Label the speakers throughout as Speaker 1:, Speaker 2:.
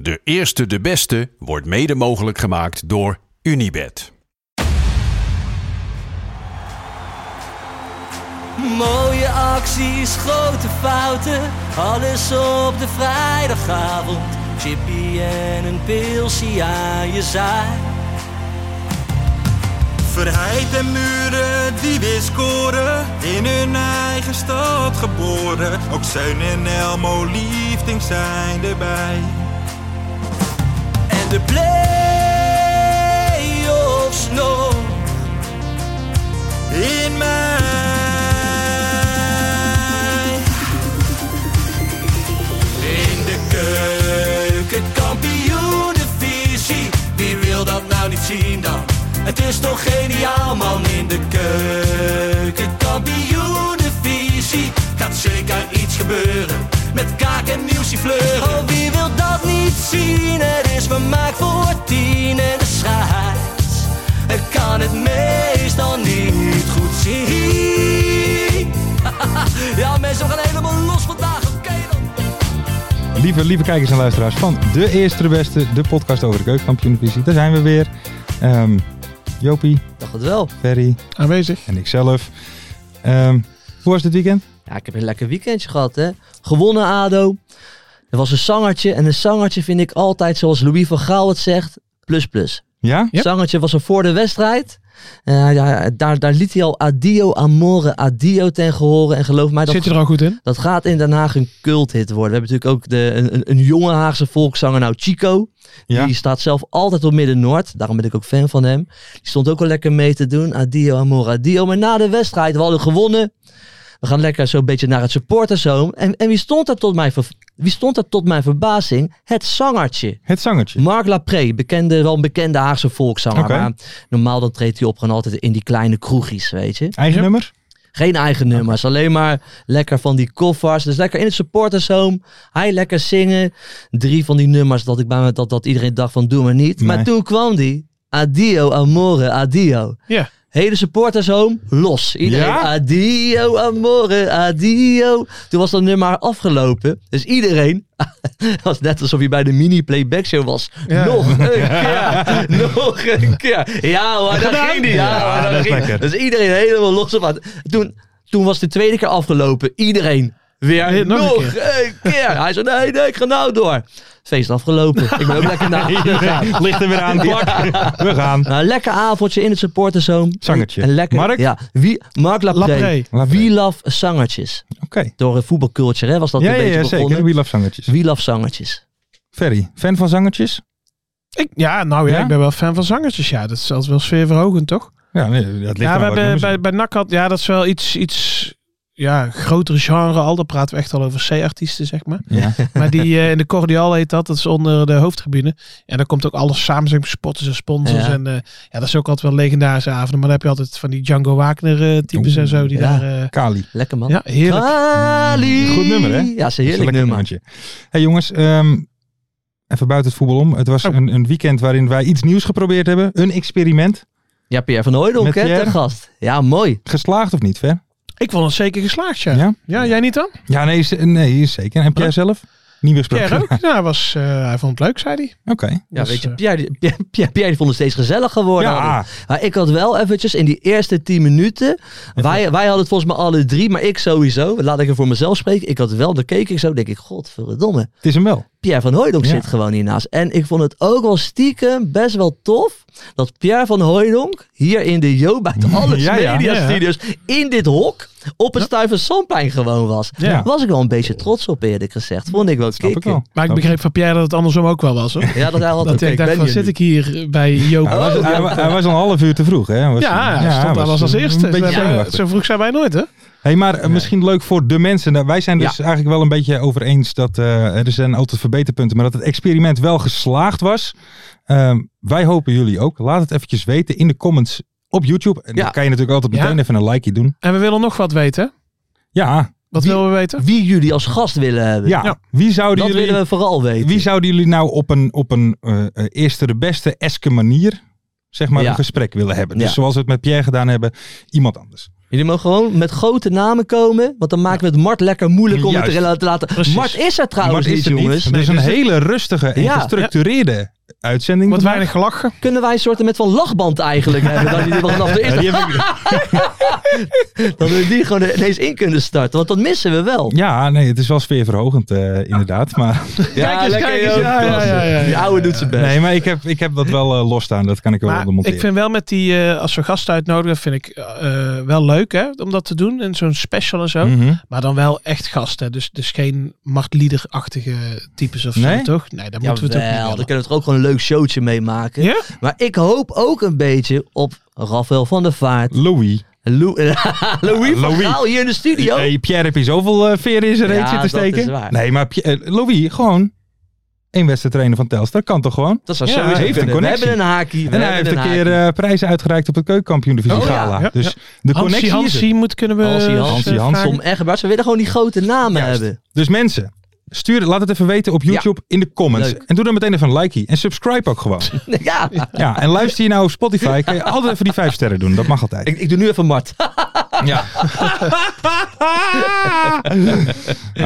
Speaker 1: De eerste de beste wordt mede mogelijk gemaakt door Unibed.
Speaker 2: Mooie acties, grote fouten, alles op de vrijdagavond. Chippy en een pilsie aan je zaai.
Speaker 3: Verheid en muren die weer scoren, in hun eigen stad geboren. Ook Zijn en Elmo liefdings zijn erbij.
Speaker 2: En de play-offs nog.
Speaker 3: In mij.
Speaker 2: In de keuken, kampioen de visie. Wie wil dat nou niet zien dan? Het is toch geniaal man in de keuken, kampioen de visie. Gaat zeker iets gebeuren met kaak en nieuwsie fleuren. Oh, wie wil dat niet zien? Het is vermaakt voor tien en de scheids. Ik kan het meestal niet goed zien. ja, mensen, we gaan helemaal los vandaag. Oké dan.
Speaker 4: Lieve, lieve kijkers en luisteraars van De Eerste de Beste, de podcast over de keukenkampioenvisie. Daar zijn we weer. Ehm, Jopie,
Speaker 5: dacht het wel.
Speaker 4: Ferry
Speaker 6: aanwezig.
Speaker 4: en ikzelf. Ehm, hoe was dit weekend?
Speaker 5: Ja, ik heb een lekker weekendje gehad, hè. Gewonnen ADO. Er was een zangertje. En een zangertje vind ik altijd, zoals Louis van Gaal het zegt, plus plus.
Speaker 4: Ja?
Speaker 6: Ja.
Speaker 5: Zangertje was er voor de wedstrijd. Eh, ja, daar, daar liet hij al adio amore, adio ten gehore. En geloof mij, dat,
Speaker 6: Zit je er al goed in?
Speaker 5: dat gaat in Den Haag een culthit worden. We hebben natuurlijk ook de, een, een, een jonge Haagse volkszanger, nou Chico.
Speaker 4: Ja.
Speaker 5: Die staat zelf altijd op Midden-Noord. Daarom ben ik ook fan van hem. Die stond ook al lekker mee te doen. Adio, amor, adio. Maar na de wedstrijd, we hadden gewonnen. We gaan lekker zo'n beetje naar het supportershome. En, en wie, stond er tot mijn ver- wie stond er tot mijn verbazing? Het zangertje.
Speaker 4: Het zangertje.
Speaker 5: Mark Lapré, bekende, wel een bekende Haagse volkszanger.
Speaker 4: Oké.
Speaker 5: Maar normaal dan treedt hij op gewoon altijd in die kleine kroegjes, weet je.
Speaker 4: Eigen
Speaker 6: Ja.
Speaker 4: nummer?
Speaker 5: Geen eigen nummers, alleen maar lekker van die koffers. Dus lekker in het supportershome. Hij lekker zingen. Drie van die nummers dat, ik bij me, dat, dat iedereen dacht van doe maar niet. Maar
Speaker 4: Nee.
Speaker 5: toen kwam die. Adio amore, adio.
Speaker 6: Ja.
Speaker 5: Hele supportershome los. Iedereen
Speaker 4: Ja?
Speaker 5: adio amore, adio. Toen was dat nummer afgelopen. Dus iedereen, het was net alsof je bij de mini playback show was.
Speaker 6: Ja.
Speaker 5: Nog een keer, nog een keer. Ja hoor, daar ging die. Ja, hoor,
Speaker 4: Ja,
Speaker 5: daar
Speaker 4: dat is
Speaker 5: ging die.
Speaker 4: lekker.
Speaker 5: Dus iedereen helemaal los op. aan- Toen, toen was de tweede keer afgelopen. Iedereen weer
Speaker 6: Ja, nog
Speaker 5: nog,
Speaker 6: een
Speaker 5: een keer. Hij zei, nee, nee, ik ga nou door. Feest afgelopen. Ik ben ook lekker naar huis gegaan.
Speaker 4: Ligt er weer aan. Plak. We gaan.
Speaker 5: Nou, lekker avondje in het supporterzone.
Speaker 4: Zangertje.
Speaker 5: En lekker,
Speaker 4: Mark?
Speaker 5: Ja, wie, Mark Lapré.
Speaker 6: Lapré.
Speaker 4: Lapré.
Speaker 5: We love zangertjes.
Speaker 4: Oké.
Speaker 5: Door een voetbalculture hè, was dat
Speaker 4: Ja,
Speaker 5: een
Speaker 4: ja,
Speaker 5: beetje
Speaker 4: ja,
Speaker 5: begonnen.
Speaker 4: zeker. We love zangertjes.
Speaker 5: We love zangertjes.
Speaker 4: Ferry, fan van zangertjes?
Speaker 6: Ik, ja, nou ja,
Speaker 4: Ja?
Speaker 6: ik ben wel fan van zangertjes. Ja, dat is altijd wel sfeerverhogend, toch?
Speaker 4: Ja, nee, dat ligt
Speaker 6: Ja,
Speaker 4: aan
Speaker 6: we
Speaker 4: welk
Speaker 6: hebben
Speaker 4: nummer ze-
Speaker 6: bij, bij NAC had, ja, dat is wel iets, iets ja, grotere genre al. Dan praten we echt al over C-artiesten, zeg maar.
Speaker 4: Ja.
Speaker 6: Maar die eh, in de Cordial heet dat, dat is onder de hoofdtribune. En daar komt ook alles samen, zeg maar, spotters en sponsors.
Speaker 5: Ja.
Speaker 6: En eh, ja, dat is ook altijd wel legendarische avonden. Maar dan heb je altijd van die Django Wagner eh, types en zo. Die
Speaker 5: ja.
Speaker 6: daar, eh,
Speaker 4: Kali.
Speaker 5: Lekker man.
Speaker 6: ja, heerlijk.
Speaker 5: Kali.
Speaker 4: Goed nummer, hè?
Speaker 5: Ja, ze
Speaker 4: Dat is een
Speaker 5: heerlijk
Speaker 4: lekker
Speaker 5: nummer.
Speaker 4: nummertje. Hey jongens, ehm, even buiten het voetbal om. Het was
Speaker 6: Oh.
Speaker 4: een, een weekend waarin wij iets nieuws geprobeerd hebben. Een experiment.
Speaker 5: Ja, Pierre van Hooydonk,
Speaker 4: Met
Speaker 5: hè,
Speaker 4: Pierre.
Speaker 5: ter gast. Ja, mooi.
Speaker 4: Geslaagd of niet, Ver?
Speaker 6: Ik vond het zeker geslaagd, ja.
Speaker 4: Ja?
Speaker 6: Ja, jij niet dan?
Speaker 4: Ja, nee, ze- nee zeker. En Pierre zelf? Niet meer gesproken.
Speaker 6: Pierre ook? Ja, hij was, eh, hij vond het leuk, zei hij.
Speaker 4: Oké.
Speaker 5: Ja,
Speaker 6: Dus,
Speaker 5: weet je,
Speaker 6: eh,
Speaker 5: Pierre, die- Pierre, Pierre, Pierre die vond het steeds gezelliger worden.
Speaker 4: Ja.
Speaker 5: Maar ik had wel eventjes in die eerste 10 minuten. Wij, wij hadden het volgens mij alle drie, maar ik sowieso. Laat ik er voor mezelf spreken. Ik had wel, dan keek ik zo, denk ik, godverdomme.
Speaker 4: Het is hem wel.
Speaker 5: Pierre van Hooydonk
Speaker 4: Ja.
Speaker 5: zit gewoon hiernaast. En ik vond het ook wel stiekem best wel tof dat Pierre van Hooydonk hier in de Jo bij de Alles
Speaker 4: Ja, ja,
Speaker 5: Media
Speaker 6: ja, ja.
Speaker 5: Studios in dit hok op het Stuyvesantplein gewoon was.
Speaker 4: Ja.
Speaker 5: Daar was ik wel een beetje trots op eerlijk gezegd. Vond ik wel
Speaker 4: Snap ik
Speaker 5: kicken.
Speaker 4: wel.
Speaker 6: Maar ik begreep van Pierre dat het andersom ook wel was, hoor.
Speaker 5: Ja, dat hij altijd
Speaker 6: Dat ik dacht, van, zit ik hier bij Joop?
Speaker 4: Hij was, hij, wa- hij was al een half uur te vroeg, hè? Hij Was,
Speaker 6: Ja, hij
Speaker 4: hij
Speaker 6: stond daar
Speaker 4: was
Speaker 6: was als
Speaker 4: een
Speaker 6: eerste.
Speaker 4: beetje
Speaker 6: We hebben-
Speaker 4: zenuwachtig.
Speaker 6: zo vroeg zijn wij nooit, hè?
Speaker 4: Hey, maar eh, misschien leuk voor de mensen. Nou, Wij zijn dus eigenlijk wel een beetje over eens dat eh, er zijn altijd verbeterpunten, maar dat het experiment wel geslaagd was. Ehm, wij hopen jullie ook. Laat het eventjes weten in de comments op YouTube. En
Speaker 5: Ja.
Speaker 4: dan kan je natuurlijk altijd
Speaker 6: Ja.
Speaker 4: meteen even een likeje doen.
Speaker 6: En we willen nog wat weten.
Speaker 4: Ja,
Speaker 6: Wat
Speaker 5: Wie-
Speaker 6: willen we weten?
Speaker 5: Wie jullie als gast willen hebben.
Speaker 4: ja.
Speaker 6: Ja.
Speaker 4: Wie zouden
Speaker 5: Dat
Speaker 4: jullie...
Speaker 5: willen we vooral weten.
Speaker 4: Wie zouden jullie nou op een, op een eh, eh, eerste de beste eske manier, zeg maar,
Speaker 5: Ja.
Speaker 4: een gesprek willen hebben? Dus
Speaker 5: Ja.
Speaker 4: zoals we het met Pierre gedaan hebben, iemand anders.
Speaker 5: Jullie mogen gewoon met grote namen komen. Want dan maken we het Mart lekker moeilijk om
Speaker 4: Juist.
Speaker 5: het erin te laten.
Speaker 6: Precies.
Speaker 5: Mart is er trouwens
Speaker 4: Maar
Speaker 5: niet,
Speaker 4: is er
Speaker 5: jongens.
Speaker 4: Niet. Dus
Speaker 6: Nee,
Speaker 4: een
Speaker 6: dus het-
Speaker 4: hele rustige en
Speaker 5: Ja.
Speaker 4: gestructureerde uitzending.
Speaker 6: Wat
Speaker 4: vandaag.
Speaker 6: weinig gelachen.
Speaker 5: Kunnen wij een soort met van lachband eigenlijk hebben? Dat jullie wel vanaf de eerste... dat we die gewoon ineens in kunnen starten. Want dat missen we wel.
Speaker 4: Ja, nee, het is wel sfeerverhogend, eh, inderdaad. Maar,
Speaker 5: kijk
Speaker 6: eens, kijk eens.
Speaker 5: joh.
Speaker 6: Ja, ja,
Speaker 5: Klasse.
Speaker 6: ja, ja, ja.
Speaker 5: Die ouwe doet zijn best.
Speaker 4: nee, maar ik heb, ik heb dat wel los losstaan. Dat kan ik wel
Speaker 6: Maar
Speaker 4: ondermonteren.
Speaker 6: ik vind wel met die, eh, als we gasten uitnodigen, vind ik eh, wel leuk hè, om dat te doen. En zo'n special en zo.
Speaker 5: Mm.
Speaker 4: Mhm.
Speaker 6: Maar dan wel echt gasten. Dus, dus geen machtliederachtige types of
Speaker 4: Nee?
Speaker 6: zo, toch? Nee, daar moeten we toch
Speaker 5: Jawel,
Speaker 6: niet
Speaker 5: dan
Speaker 6: willen.
Speaker 5: kunnen we toch ook gewoon een leuk showtje mee maken.
Speaker 6: Ja?
Speaker 5: Maar ik hoop ook een beetje op Rafael van der Vaart.
Speaker 4: Louis.
Speaker 5: Lou- Louis van
Speaker 4: Louis.
Speaker 5: Gaal hier in de studio.
Speaker 4: Hey, Pierre, heb je zoveel eh, veer in zijn
Speaker 5: Ja,
Speaker 4: reet zitten
Speaker 5: dat is
Speaker 4: steken?
Speaker 5: waar.
Speaker 4: Nee, maar Pie- eh, Louis, gewoon één wedstrijd trainen van Telstar. Kan toch gewoon?
Speaker 5: Dat zou
Speaker 4: Ja,
Speaker 5: sowieso
Speaker 4: hij heeft een
Speaker 5: kunnen. We
Speaker 4: connectie.
Speaker 5: hebben een haakje.
Speaker 4: En hij heeft een keer eh, prijzen uitgereikt op het keukenkampioen-divisie
Speaker 5: Oh, ja.
Speaker 4: gala.
Speaker 6: Ja,
Speaker 4: Dus
Speaker 6: ja.
Speaker 4: de
Speaker 6: Hansie
Speaker 4: connectie is er.
Speaker 6: Hansie moet kunnen we...
Speaker 5: Hansie
Speaker 6: eh,
Speaker 5: Hansie
Speaker 6: vragen.
Speaker 4: Hansom.
Speaker 5: Tom Eggerbart. Ze willen gewoon die grote namen
Speaker 4: Juist.
Speaker 5: hebben.
Speaker 4: Dus mensen, stuur, laat het even weten op YouTube in de comments.
Speaker 5: Leuk.
Speaker 4: En doe dan meteen even een likeie. En subscribe ook gewoon.
Speaker 5: Ja,
Speaker 4: ja, en luister je nou op Spotify, kan je altijd even die vijf sterren doen. Dat mag altijd.
Speaker 5: ik, ik doe nu even Mart.
Speaker 4: Ja.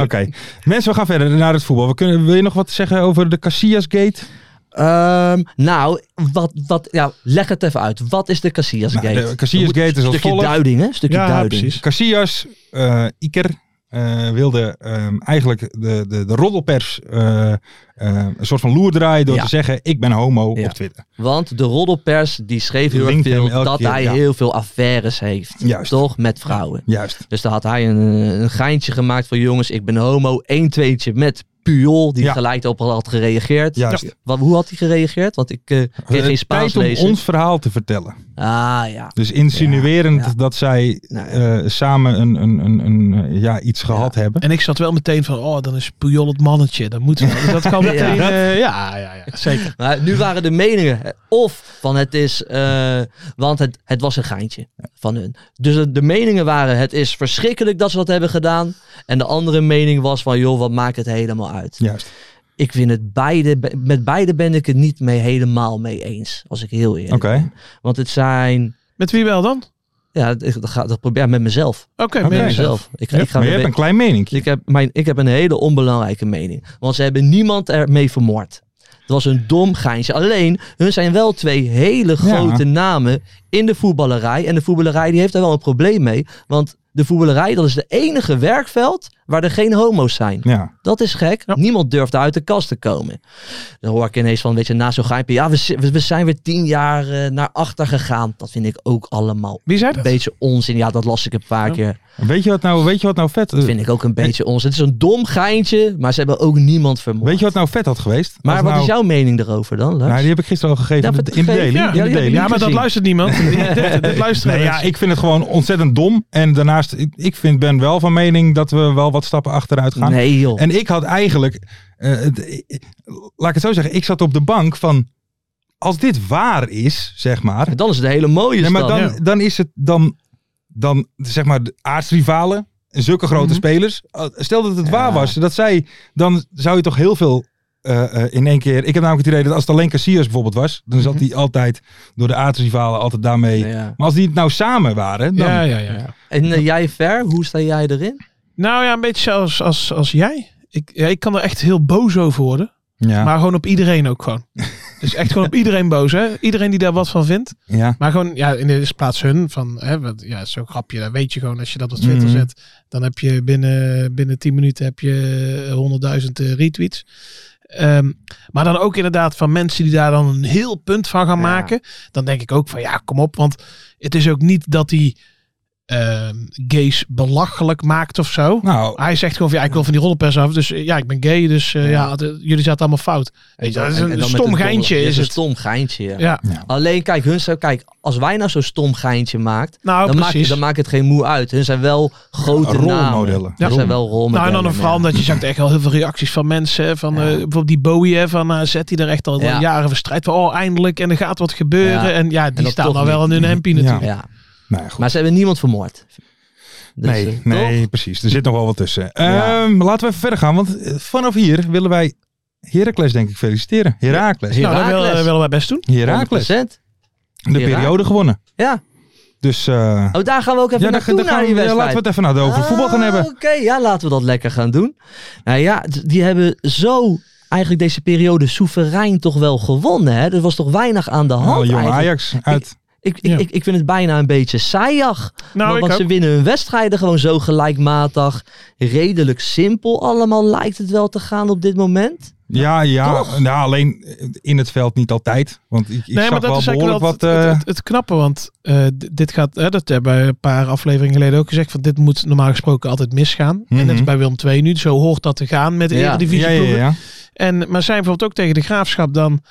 Speaker 4: Oké. Mensen, we gaan verder naar het voetbal. We kunnen, wil je nog wat zeggen over de Casillas Gate?
Speaker 5: Ehm, nou, wat, wat, ja, leg het even uit. Wat is de Casillas Gate?
Speaker 4: Nou, de Casillas
Speaker 5: Dat moet-
Speaker 4: Gate is als
Speaker 5: Stukje
Speaker 4: volgt.
Speaker 5: duiding, hè? Stukje
Speaker 6: Ja,
Speaker 5: duiding.
Speaker 6: precies.
Speaker 4: Casillas, eh, Iker, eh, wilde ehm, eigenlijk de, de, de roddelpers eh, eh, een soort van loer draaien door
Speaker 5: Ja.
Speaker 4: te zeggen: Ik ben homo
Speaker 5: Ja.
Speaker 4: op Twitter.
Speaker 5: Want de roddelpers die schreef heel erg
Speaker 4: Linkt hem
Speaker 5: veel
Speaker 4: elke
Speaker 5: dat
Speaker 4: keer,
Speaker 5: hij
Speaker 4: ja.
Speaker 5: heel veel affaires heeft.
Speaker 4: Juist.
Speaker 5: Toch? Met vrouwen.
Speaker 4: Juist.
Speaker 5: Dus daar had hij een, een geintje gemaakt van jongens, ik ben homo. 1 tweetje met Puyol, die
Speaker 4: Ja.
Speaker 5: gelijk op had gereageerd.
Speaker 4: Juist.
Speaker 5: Wat, hoe had hij gereageerd? Want ik eh kan
Speaker 4: Het
Speaker 5: geen
Speaker 4: is
Speaker 5: Spaans
Speaker 4: tijd om
Speaker 5: lezen.
Speaker 4: ons verhaal te vertellen.
Speaker 5: Ah ja.
Speaker 4: Dus insinuerend
Speaker 5: Ja, ja.
Speaker 4: dat zij
Speaker 5: Nou
Speaker 4: eh, samen een, een, een, een, eh, ja, iets gehad hebben.
Speaker 6: En ik zat wel meteen van, oh, dan is Puyol het mannetje. Dan moeten we. Dus dat kan meteen...
Speaker 5: Ja.
Speaker 6: eh, ja, ja, ja, zeker.
Speaker 5: Maar nu waren de meningen hè, of van het is, eh, want het, het was een geintje van hun. Dus het- de meningen waren het is verschrikkelijk dat ze dat hebben gedaan. En de andere mening was van joh, wat maakt het helemaal uit.
Speaker 4: Juist.
Speaker 5: Ik vind het beide, be- met beide ben ik het niet mee helemaal mee eens. Als ik heel eerlijk
Speaker 4: Oké.
Speaker 5: ben. Want het zijn,
Speaker 6: Met wie wel dan?
Speaker 5: ja, ik- dat, ga, dat probeer ik met mezelf.
Speaker 6: Oké,
Speaker 4: Oké.
Speaker 5: Met
Speaker 6: mensen.
Speaker 5: mezelf. Ik,
Speaker 4: Ja,
Speaker 5: ik ga
Speaker 4: maar
Speaker 5: weer-
Speaker 4: je hebt een klein mening.
Speaker 5: ik heb, mijn, ik heb een hele onbelangrijke mening. Want ze hebben niemand ermee vermoord. Het was een dom geintje. Alleen, hun zijn wel twee hele
Speaker 4: Ja.
Speaker 5: grote namen in de voetballerij. En de voetballerij die heeft daar wel een probleem mee. Want de voetballerij, dat is de enige werkveld waar er geen homo's zijn.
Speaker 4: Ja.
Speaker 5: Dat is gek. Niemand durft uit de kast te komen. Dan hoor ik ineens van, weet je, na zo'n geimpje. Ja, we, zi- we- we zijn weer tien jaar eh, naar achter gegaan. Dat vind ik ook allemaal
Speaker 6: Wie zei
Speaker 5: een
Speaker 6: dat?
Speaker 5: beetje onzin. Ja, dat las ik een paar
Speaker 6: Ja.
Speaker 5: keer.
Speaker 4: Weet je wat nou, weet je wat nou vet?
Speaker 5: Dat vind ik ook een beetje ons. Het is een dom geintje, maar ze hebben ook niemand vermoord.
Speaker 4: Weet je wat nou vet had geweest?
Speaker 5: maar
Speaker 4: Als
Speaker 5: wat
Speaker 4: nou-
Speaker 5: is jouw mening daarover dan, Lars?
Speaker 4: Nou, die heb ik gisteren al gegeven
Speaker 5: Ja,
Speaker 4: in de- in de
Speaker 5: vergeef-
Speaker 4: daily.
Speaker 6: Ja,
Speaker 4: in de
Speaker 5: ja, die heb
Speaker 4: daily.
Speaker 5: ik
Speaker 6: Ja, maar dat
Speaker 5: gezien.
Speaker 6: luistert niemand. dit, dit luisteren
Speaker 4: Nee, ja,
Speaker 6: mensen.
Speaker 4: ik vind het gewoon ontzettend dom. En daarnaast, ik, ik vind, ben wel van mening dat we wel wat stappen achteruit gaan.
Speaker 5: nee joh.
Speaker 4: En ik had eigenlijk, eh, het- eh, laat ik het zo zeggen, ik zat op de bank van, als dit waar is, zeg maar.
Speaker 5: dan is het een hele mooie
Speaker 4: Nee, maar
Speaker 5: stad.
Speaker 4: dan, dan is het dan, dan zeg maar de aardsrivalen, zulke grote spelers. Eh, Stel dat het waar was, dat zij, dan zou je toch heel veel eh, eh, in één keer. Ik heb namelijk het idee dat als het alleen Cassius bijvoorbeeld was, dan zat hij altijd door de aardsrivalen altijd daarmee.
Speaker 5: Ja.
Speaker 4: Maar als die het nou samen waren, dan.
Speaker 6: Ja, ja, ja. ja.
Speaker 5: En eh, jij ver, hoe sta jij erin?
Speaker 6: Nou ja, een beetje zoals als, als jij. Ik, ja, ik kan er echt heel boos over worden.
Speaker 4: Ja.
Speaker 6: Maar gewoon op iedereen ook gewoon. Dus echt gewoon op iedereen boos, hè? Iedereen die daar wat van vindt.
Speaker 4: ja.
Speaker 6: Maar gewoon, ja, in de eerste plaats hun. Van, hè, wat, ja, zo'n grapje, dat weet je gewoon. Als je dat op Twitter
Speaker 4: Mhm.
Speaker 6: zet, dan heb je binnen, binnen 10 minuten heb je eh, 100.000 eh, retweets. Eh, Ehm, maar dan ook inderdaad van mensen die daar dan een heel punt van gaan
Speaker 5: Ja.
Speaker 6: maken. Dan denk ik ook van ja, kom op. Want het is ook niet dat hij ehm, gays belachelijk maakt of zo.
Speaker 4: Nou,
Speaker 6: Hij zegt gewoon van ja, ik wil van die rollenpers af. Dus eh, ja, ik ben gay. Dus eh, ja, de- jullie zaten allemaal fout. Weet je, dat is een,
Speaker 5: dan met
Speaker 6: stom
Speaker 5: een
Speaker 6: geintje
Speaker 5: domme-
Speaker 6: is
Speaker 5: een
Speaker 6: het.
Speaker 5: stom geintje, ja.
Speaker 6: Ja,
Speaker 5: Alleen, kijk, hun zijn, kijk, als wij nou zo'n stom geintje maakt,
Speaker 6: nou
Speaker 5: dan, maakt,
Speaker 6: precies.
Speaker 5: dan maakt het geen moe uit. Hun zijn wel grote
Speaker 4: Rolmodellen.
Speaker 5: Namen. Hun zijn wel
Speaker 6: nou,
Speaker 5: rolmodellen.
Speaker 6: en dan een- vooral
Speaker 5: ja.
Speaker 6: omdat je zag echt al heel veel reacties van mensen. hè, Van,
Speaker 5: Ja.
Speaker 6: eh, bijvoorbeeld die Bowie hè, van AZ, die er echt al
Speaker 5: Ja.
Speaker 6: jaren verstrijdt. Van, oh, eindelijk, en er gaat wat gebeuren.
Speaker 5: Ja.
Speaker 6: En ja, die
Speaker 5: dat
Speaker 6: staan
Speaker 5: toch
Speaker 6: dan wel in
Speaker 5: niet.
Speaker 6: hun hempie
Speaker 4: Ja.
Speaker 6: natuurlijk.
Speaker 5: Ja.
Speaker 4: nou ja, goed.
Speaker 5: Maar ze hebben niemand vermoord. Dus,
Speaker 4: nee,
Speaker 5: eh,
Speaker 4: nee,
Speaker 5: toch?
Speaker 4: precies. Er zit nog wel wat tussen.
Speaker 5: Ja.
Speaker 4: Ehm, laten we even verder gaan, want eh, vanaf hier willen wij Heracles denk ik feliciteren. Heracles.
Speaker 6: Nou, dat
Speaker 5: Heracles.
Speaker 6: willen, willen wij best doen.
Speaker 4: Heracles.
Speaker 5: 100%.
Speaker 4: De periode gewonnen.
Speaker 5: Ja.
Speaker 4: Dus eh, ja,
Speaker 5: Oh, daar gaan we ook even
Speaker 4: daar-
Speaker 5: naartoe
Speaker 4: daar
Speaker 5: naar
Speaker 4: gaan
Speaker 5: die
Speaker 4: we, ja,
Speaker 5: wedstrijd.
Speaker 4: laten we het even naar de over
Speaker 6: Oh,
Speaker 5: Ah,
Speaker 4: voetbal gaan hebben.
Speaker 5: Oké, ja, laten we dat lekker gaan doen. Nou ja, d- die hebben zo eigenlijk deze periode soeverein toch wel gewonnen. Hè? Er was toch weinig aan de hand.
Speaker 4: Nou, jong
Speaker 5: eigenlijk.
Speaker 4: Ajax uit.
Speaker 5: Ik, ik,
Speaker 6: Ja.
Speaker 5: ik, ik vind het bijna een beetje saaiig.
Speaker 6: Nou,
Speaker 5: want want
Speaker 6: ik
Speaker 5: ze
Speaker 6: ook.
Speaker 5: winnen hun wedstrijden gewoon zo gelijkmatig. Redelijk simpel allemaal lijkt het wel te gaan op dit moment.
Speaker 4: Ja, ja.
Speaker 5: Toch?
Speaker 4: Nou, alleen in het veld niet altijd. Want ik, ik
Speaker 6: Nee, maar
Speaker 4: zag
Speaker 6: dat
Speaker 4: wel
Speaker 6: is eigenlijk
Speaker 4: behoorlijk
Speaker 6: wel
Speaker 4: wat...
Speaker 6: het, het,
Speaker 4: eh,
Speaker 6: het, het knappe. Want eh, d- dit gaat, hè, dat hebben we een paar afleveringen geleden ook gezegd. Van dit moet normaal gesproken altijd misgaan. En dat is
Speaker 4: Mhm.
Speaker 6: bij Willem 2 nu. Zo hoort dat te gaan met de
Speaker 5: Ja.
Speaker 6: Eredivisie
Speaker 4: ja, ja, ja.
Speaker 6: En, maar zijn bijvoorbeeld ook tegen de graafschap, dan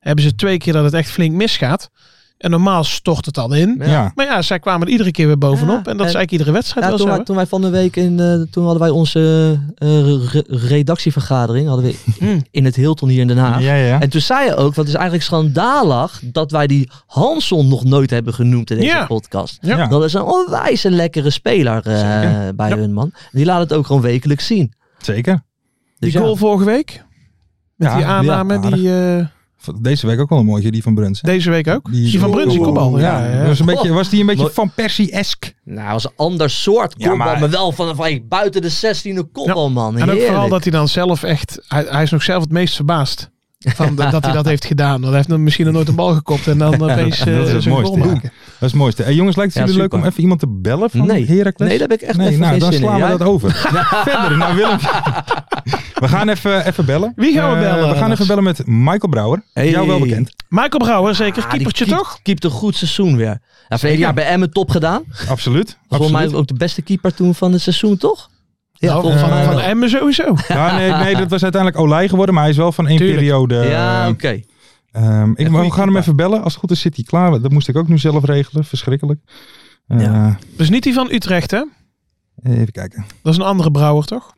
Speaker 6: hebben ze twee keer dat het echt flink misgaat. En normaal stort het dan in.
Speaker 4: ja. ja.
Speaker 6: Maar ja, zij kwamen er iedere keer weer bovenop.
Speaker 5: Ja,
Speaker 6: en dat is
Speaker 5: en-
Speaker 6: eigenlijk iedere wedstrijd
Speaker 5: Ja,
Speaker 6: wel
Speaker 5: toen,
Speaker 6: zo.
Speaker 5: wij,
Speaker 6: hè?
Speaker 5: toen wij van de week in, eh, toen hadden wij onze eh, re- redactievergadering hadden we
Speaker 6: Hmm.
Speaker 5: in het Hilton hier in Den Haag.
Speaker 4: ja, ja.
Speaker 5: En toen zei je ook, want het is eigenlijk schandalig dat wij die Hanson nog nooit hebben genoemd in deze
Speaker 6: Ja.
Speaker 5: podcast.
Speaker 6: Ja.
Speaker 4: Ja.
Speaker 5: Dat is een onwijs een lekkere speler eh,
Speaker 4: Zeker.
Speaker 5: bij
Speaker 6: Ja.
Speaker 5: hun man. En die laat het ook gewoon wekelijks zien.
Speaker 4: Zeker.
Speaker 6: die
Speaker 5: Dus ja.
Speaker 6: goal vorige week,
Speaker 4: Ja,
Speaker 6: die aanname,
Speaker 4: ja,
Speaker 6: die, eh,
Speaker 4: aardig. Deze week ook wel een mooitje, die van Bruns. hè?
Speaker 6: deze week ook. Die, van
Speaker 4: Oh,
Speaker 6: Bruns, die kopbal. Ja, ja, Oh. ja.
Speaker 4: Was, een beetje, was die een beetje
Speaker 5: Mooi.
Speaker 4: van Persie-esk?
Speaker 5: Nou, was een ander soort
Speaker 4: Ja,
Speaker 5: kopbal, maar...
Speaker 4: maar-
Speaker 5: wel van, van hey, buiten de 16e kopbal, man.
Speaker 6: En ook
Speaker 5: Heerlijk.
Speaker 6: vooral dat hij dan zelf echt... Hij, hij is nog zelf het meest verbaasd. Van de- dat hij dat heeft gedaan. Want hij heeft nog misschien nog nooit een bal gekopt. En dan opeens eh
Speaker 4: Dat is het
Speaker 6: zo'n goal
Speaker 4: mooiste. Ja.
Speaker 6: maken.
Speaker 4: Dat is het mooiste. Hey, jongens, lijkt het
Speaker 5: Ja,
Speaker 4: jullie leuk
Speaker 5: super.
Speaker 4: om even iemand te bellen van
Speaker 5: Nee.
Speaker 4: Heracles?
Speaker 5: Nee, daar heb ik echt
Speaker 4: Nee,
Speaker 5: even
Speaker 4: nou,
Speaker 5: geen
Speaker 4: dan
Speaker 5: zin
Speaker 4: slaan
Speaker 5: in.
Speaker 4: we
Speaker 5: Jij?
Speaker 4: dat over. Verder naar Willem. We gaan even, even bellen.
Speaker 6: Wie gaan we
Speaker 4: Eh,
Speaker 6: bellen,
Speaker 4: we gaan even
Speaker 6: Lars?
Speaker 4: bellen met Michael Brouwer.
Speaker 5: Hey.
Speaker 4: Jou wel bekend.
Speaker 6: Michael Brouwer, zeker.
Speaker 5: Ah, die
Speaker 6: keepertje
Speaker 5: keep-
Speaker 6: toch?
Speaker 5: Keept een goed seizoen weer. Ja, verleden jaar bij Emmen top gedaan.
Speaker 4: Absoluut.
Speaker 5: Volgens mij
Speaker 4: absoluut.
Speaker 5: ook de beste keeper toen van het seizoen, toch? Ja,
Speaker 6: Nou,
Speaker 5: volgens
Speaker 6: van,
Speaker 5: mij
Speaker 6: van
Speaker 5: wel.
Speaker 6: Emmen sowieso.
Speaker 4: Ja, nee, nee, dat was uiteindelijk Olij geworden, maar hij is wel van één
Speaker 6: Tuurlijk.
Speaker 4: periode.
Speaker 6: Eh.
Speaker 5: ja,
Speaker 4: ehm,
Speaker 5: oké.
Speaker 4: ehm, ik,
Speaker 5: Ja,
Speaker 4: maar we
Speaker 5: goeie
Speaker 4: gaan hem even bellen. Als het goed is zit hij klaar. Dat moest ik ook nu zelf regelen. Verschrikkelijk. Eh,
Speaker 5: Ja.
Speaker 6: Dus niet die van Utrecht, hè?
Speaker 4: Even kijken.
Speaker 6: Dat is een andere brouwer, toch?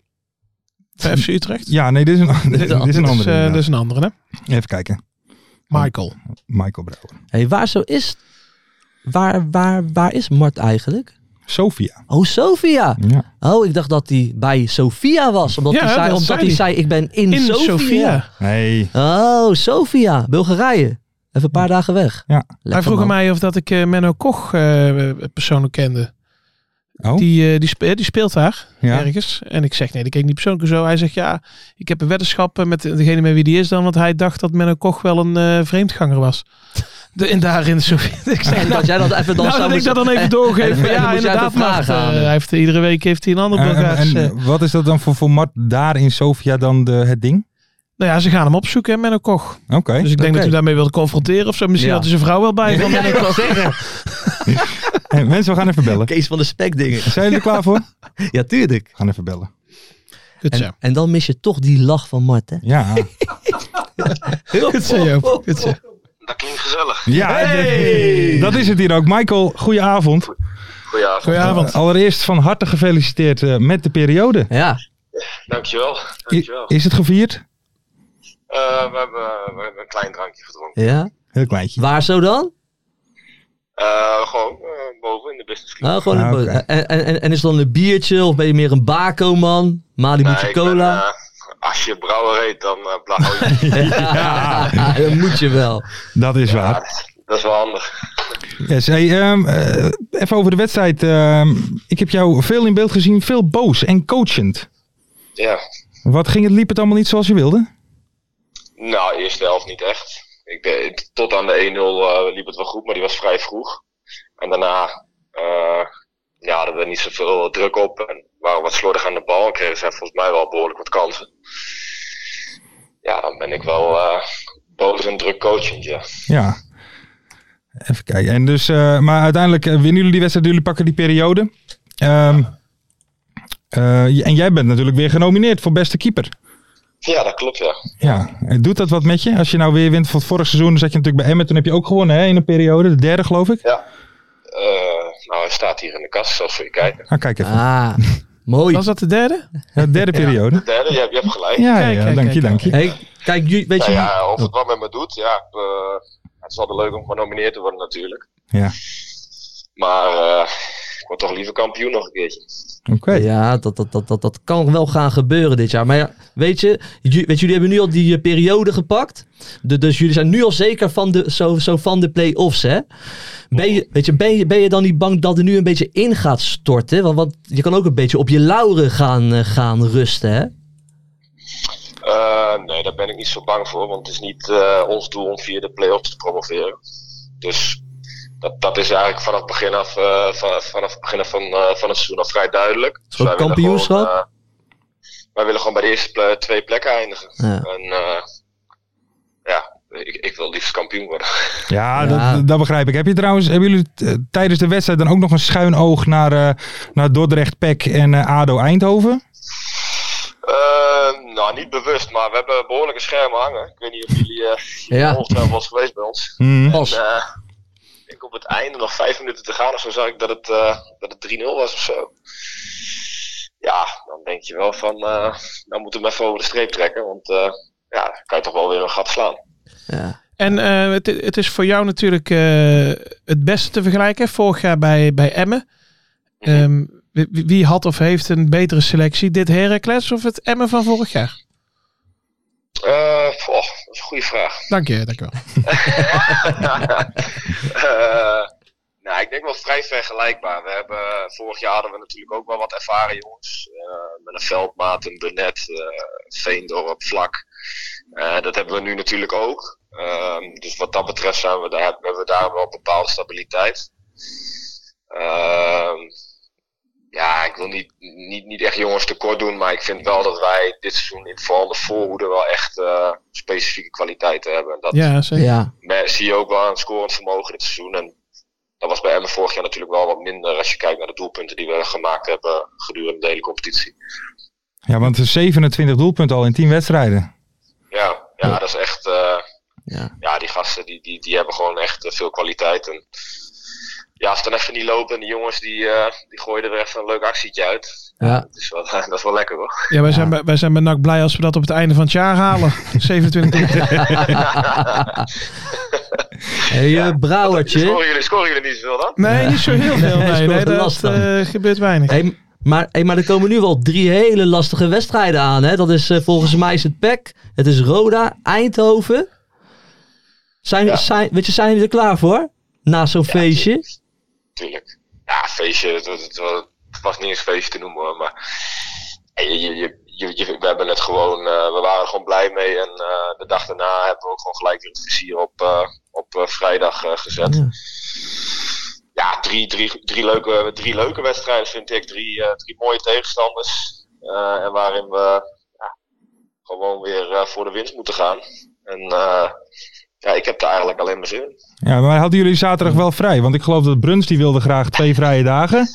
Speaker 6: Van FC Utrecht?
Speaker 4: Hm. Ja, nee, dit is een, dit, dit is een andere.
Speaker 5: dus-
Speaker 6: eh,
Speaker 4: inderdaad.
Speaker 6: dit is een andere, hè?
Speaker 4: Even kijken.
Speaker 6: Michael.
Speaker 4: Michael Brouwer.
Speaker 5: Hey, waar zo is... Waar, waar, waar is Mart eigenlijk?
Speaker 4: Sophia.
Speaker 5: Oh, Sofia.
Speaker 4: Ja.
Speaker 5: Oh, ik dacht dat hij bij Sofia was. Omdat
Speaker 6: Ja,
Speaker 5: hij zei,
Speaker 6: dat
Speaker 5: omdat
Speaker 6: zei
Speaker 5: hij
Speaker 6: hij.
Speaker 5: zei ik ben in,
Speaker 6: In
Speaker 5: Sofia.
Speaker 6: Sofia.
Speaker 4: Nee.
Speaker 5: Oh, Sofia. Bulgarije. Even een paar dagen weg.
Speaker 4: Ja.
Speaker 5: Lekker,
Speaker 6: Hij vroeg
Speaker 5: man.
Speaker 6: aan mij of dat ik eh, Menno Koch eh, persoonlijk kende.
Speaker 4: Oh,
Speaker 6: Die, eh, die, spe- die speelt daar
Speaker 4: ja.
Speaker 6: ergens. En ik zeg nee, die ken ik niet persoonlijk en zo. Hij zegt ja, ik heb een weddenschap eh, met degene met wie die is dan. Want hij dacht dat Menno Koch wel een eh, vreemdganger was. De, en daarin Sofia. ik zeg,
Speaker 5: En
Speaker 6: nou,
Speaker 5: dat jij dat even dan
Speaker 6: nou,
Speaker 5: zou
Speaker 6: dat ik dat dan
Speaker 5: moeten-
Speaker 6: even doorgeef.
Speaker 5: en- en dan
Speaker 6: ja,
Speaker 5: moet jij
Speaker 6: inderdaad.
Speaker 5: de vraag
Speaker 6: Mart, eh,
Speaker 5: aan hem.
Speaker 6: hij heeft, iedere week heeft hij een ander
Speaker 4: En,
Speaker 6: Bulgaars.
Speaker 4: en-
Speaker 6: eh,
Speaker 4: en wat is dat dan voor format daar in Sofia dan de, het ding?
Speaker 6: Nou ja, ze gaan hem opzoeken, hè, Menno Koch.
Speaker 4: Oké.
Speaker 6: Dus ik denk
Speaker 5: Oké.
Speaker 6: dat u daarmee wilde confronteren of zo. Misschien
Speaker 5: Ja.
Speaker 6: had u zijn vrouw wel bij. Van
Speaker 5: Ja,
Speaker 6: Menno
Speaker 5: ik wou
Speaker 6: Koch.
Speaker 5: zeggen.
Speaker 4: Hey, mensen, we gaan even bellen.
Speaker 5: Kees van de spek dingen.
Speaker 4: Zijn jullie er klaar voor? We
Speaker 5: Ja, tuurlijk.
Speaker 4: gaan even bellen.
Speaker 6: Goed zo.
Speaker 5: En, en dan mis je toch die lach van Mart, hè?
Speaker 4: Ja.
Speaker 6: Goed zo, Joop. Goed zo.
Speaker 7: Dat klinkt gezellig.
Speaker 4: ja d- Dat is het hier ook. Michael, goedenavond.
Speaker 7: Goedenavond.
Speaker 6: Goedenavond.
Speaker 4: Allereerst van harte gefeliciteerd eh, met de periode.
Speaker 5: Ja.
Speaker 7: Dankjewel.
Speaker 4: I-
Speaker 7: Dankjewel.
Speaker 4: is het gevierd?
Speaker 7: Eh, we, hebben, we hebben een klein drankje gedronken.
Speaker 5: ja.
Speaker 4: Heel kleintje.
Speaker 5: Waar zo dan?
Speaker 7: Eh, gewoon eh, boven in de business class.
Speaker 5: Nou, gewoon een
Speaker 4: Ah,
Speaker 5: bo-
Speaker 4: oké.
Speaker 5: en, en, en- en is het dan een biertje of ben je meer een bako-man? Malibu'tje
Speaker 7: Nee, ik ben,
Speaker 5: cola?
Speaker 7: eh, als je brouwer heet, dan eh, blauw je. eh,
Speaker 5: ja, dat moet je wel.
Speaker 4: Dat is
Speaker 7: Ja,
Speaker 4: waar.
Speaker 7: dat is- dat is wel handig.
Speaker 4: Yes, hey, ehm, eh, even over de wedstrijd. Ehm, ik heb jou veel in beeld gezien. Veel boos en coachend.
Speaker 7: Ja.
Speaker 4: Wat ging het, liep het allemaal niet zoals je wilde?
Speaker 7: Nou, eerste helft niet echt. Ik deed, tot aan de 1-0 eh, liep het wel goed, maar die was vrij vroeg. En daarna eh ja, hadden we niet zoveel druk op en waren wat slordig aan de bal. En kregen ze volgens mij wel behoorlijk wat kansen. ja, dan ben ik wel eh boven een druk coachend, ja.
Speaker 4: Ja. Even kijken. En dus, eh, maar uiteindelijk eh, winnen jullie die wedstrijd. Jullie pakken die periode. Ehm, eh, j- en jij bent natuurlijk weer genomineerd voor beste keeper.
Speaker 7: Ja, dat klopt, ja.
Speaker 4: Ja. En Doet dat wat met je? Als je nou weer wint van het vorig seizoen, dan zat je natuurlijk bij Emmen. Toen heb je ook gewonnen hè, in een periode. De derde, geloof ik.
Speaker 7: Eh, nou, hij staat hier in de kast, zoals voor je kijken.
Speaker 4: Ah, kijk even.
Speaker 5: Ah, mooi.
Speaker 6: Was dat de derde?
Speaker 4: De derde periode.
Speaker 7: Derde, je hebt, je hebt gelijk.
Speaker 4: Ja, ja,
Speaker 6: Kijk, kijk,
Speaker 4: dank je,
Speaker 6: kijk,
Speaker 4: dank je.
Speaker 5: Hey, kijk, ju- weet
Speaker 7: Nou
Speaker 5: je...
Speaker 7: ja, of het wat met me doet, ja. ik, eh, het is altijd leuk om genomineerd te worden natuurlijk.
Speaker 4: Ja.
Speaker 7: Maar eh, ik word toch liever kampioen nog een keertje.
Speaker 4: Oké.
Speaker 5: Ja, dat, dat, dat, dat, dat kan wel gaan gebeuren dit jaar. Maar ja, weet je, ju- weet, jullie hebben nu al die eh, periode gepakt. De- dus jullie zijn nu al zeker van de, zo, zo van de play-offs, hè? Ben je, weet je, ben, je, ben je dan niet bang dat er nu een beetje in gaat storten? Want, want je kan ook een beetje op je lauren gaan, eh, gaan rusten, hè?
Speaker 7: Eh, nee, daar ben ik niet zo bang voor, want het is niet eh, ons doel om via de play-offs te promoveren. Dus dat, dat is eigenlijk vanaf het begin af, eh, van, vanaf het begin af van, eh, van het seizoen al vrij duidelijk. Dus
Speaker 5: ook
Speaker 7: wij willen
Speaker 5: kampioenschap?
Speaker 7: gewoon, eh, wij willen gewoon bij de eerste ple- twee plekken eindigen.
Speaker 5: Ja.
Speaker 7: En eh, ja, ik, ik wil liefst kampioen worden.
Speaker 4: Ja,
Speaker 5: Ja.
Speaker 4: Dat, dat begrijp ik. Heb je trouwens, hebben jullie eh, tijdens de wedstrijd dan ook nog een schuin oog naar, eh, naar Dordrecht, PEC en eh, ADO Eindhoven?
Speaker 7: Eh, nou, niet bewust, maar we hebben behoorlijke schermen hangen. Ik weet niet of jullie eh
Speaker 5: Ja.
Speaker 7: ja. ongetwijfeld wel eens geweest bij ons.
Speaker 4: Hmm.
Speaker 5: Pas.
Speaker 7: Eh, ik denk op het einde, nog vijf minuten te gaan of zo, zag ik dat het, eh, dat het 3-0 was of zo. Ja, dan denk je wel van, eh nou moeten we hem even over de streep trekken, want eh, ja, dan kan je toch wel weer een gat slaan.
Speaker 6: En eh, het, het is voor jou natuurlijk eh, het beste te vergelijken. Vorig jaar bij, bij Emmen.
Speaker 7: Mhm.
Speaker 6: Ehm, wie, wie had of heeft een betere selectie? Dit Heracles of het Emmen van vorig jaar?
Speaker 7: Eh, poh, dat is een goede vraag.
Speaker 6: Dank je, dank je wel.
Speaker 7: Eh, nou, ik denk wel vrij vergelijkbaar. We hebben, eh, vorig jaar hadden we natuurlijk ook wel wat ervaren jongens. Eh, met een Veldmaat, een Benet, eh Veendorp, Vlak. Eh, dat hebben we nu natuurlijk ook. Ehm, dus wat dat betreft zijn we daar, hebben we daar wel bepaalde stabiliteit. Ehm, ja, ik wil niet, niet, niet echt jongens tekort doen, maar ik vind wel dat wij dit seizoen in vooral de voorhoede wel echt eh, specifieke kwaliteiten hebben. En Dat,
Speaker 6: Ja, zeker.
Speaker 5: Ja,
Speaker 7: maar zie je ook wel een scorend vermogen dit seizoen. En dat was bij Emmen vorig jaar natuurlijk wel wat minder als je kijkt naar de doelpunten die we gemaakt hebben gedurende de hele competitie.
Speaker 4: Ja, want er 27 doelpunten al in 10 wedstrijden.
Speaker 7: Ja, ja, dat is echt. eh,
Speaker 5: Ja.
Speaker 7: ja. die gasten die, die, die hebben gewoon echt eh, veel kwaliteit. En ja, als het dan even niet lopen en die jongens die, eh, die gooien er weer even een leuk actietje uit.
Speaker 5: ja.
Speaker 7: Dus wel, dat is wel lekker hoor.
Speaker 6: Ja, wij, Zijn, bij- wij zijn bij NAC blij als we dat op het einde van het jaar halen. 27 punten.
Speaker 5: Hey, eh, Brouwertje.
Speaker 7: Scoren jullie, scoren jullie niet zoveel dan?
Speaker 6: Nee, niet zo heel veel.
Speaker 5: Nee,
Speaker 6: Nee,
Speaker 5: is
Speaker 6: nee,
Speaker 5: wel te
Speaker 6: dat
Speaker 5: lastig.
Speaker 6: eh, gebeurt weinig.
Speaker 5: Hey, maar, hey, maar er komen nu wel drie hele lastige wedstrijden aan, hè? Dat is eh, volgens mij is het PEC, het is Roda, Eindhoven. Zijn,
Speaker 7: Ja.
Speaker 5: zijn, weet je, zijn jullie er klaar voor? Na zo'n feestje?
Speaker 7: Tuurlijk. Ja, feestje. Het, het- het was- het was niet eens feestje te noemen hoor, maar. Je, je, je, je- je- we hebben het gewoon. eh, we waren er gewoon blij mee. En eh, de dag daarna hebben we ook gewoon gelijk weer het vizier op, eh, op eh, vrijdag eh, gezet.
Speaker 5: Ja.
Speaker 7: Ja, drie, drie, drie, leuke, drie leuke wedstrijden vind ik. Drie, eh, drie mooie tegenstanders. Eh, en waarin we ja, gewoon weer eh, voor de winst moeten gaan. En eh, ja, ik heb daar eigenlijk alleen maar zin in.
Speaker 4: Ja, maar hadden jullie zaterdag wel vrij? Want ik geloof dat Bruns die wilde graag twee vrije dagen.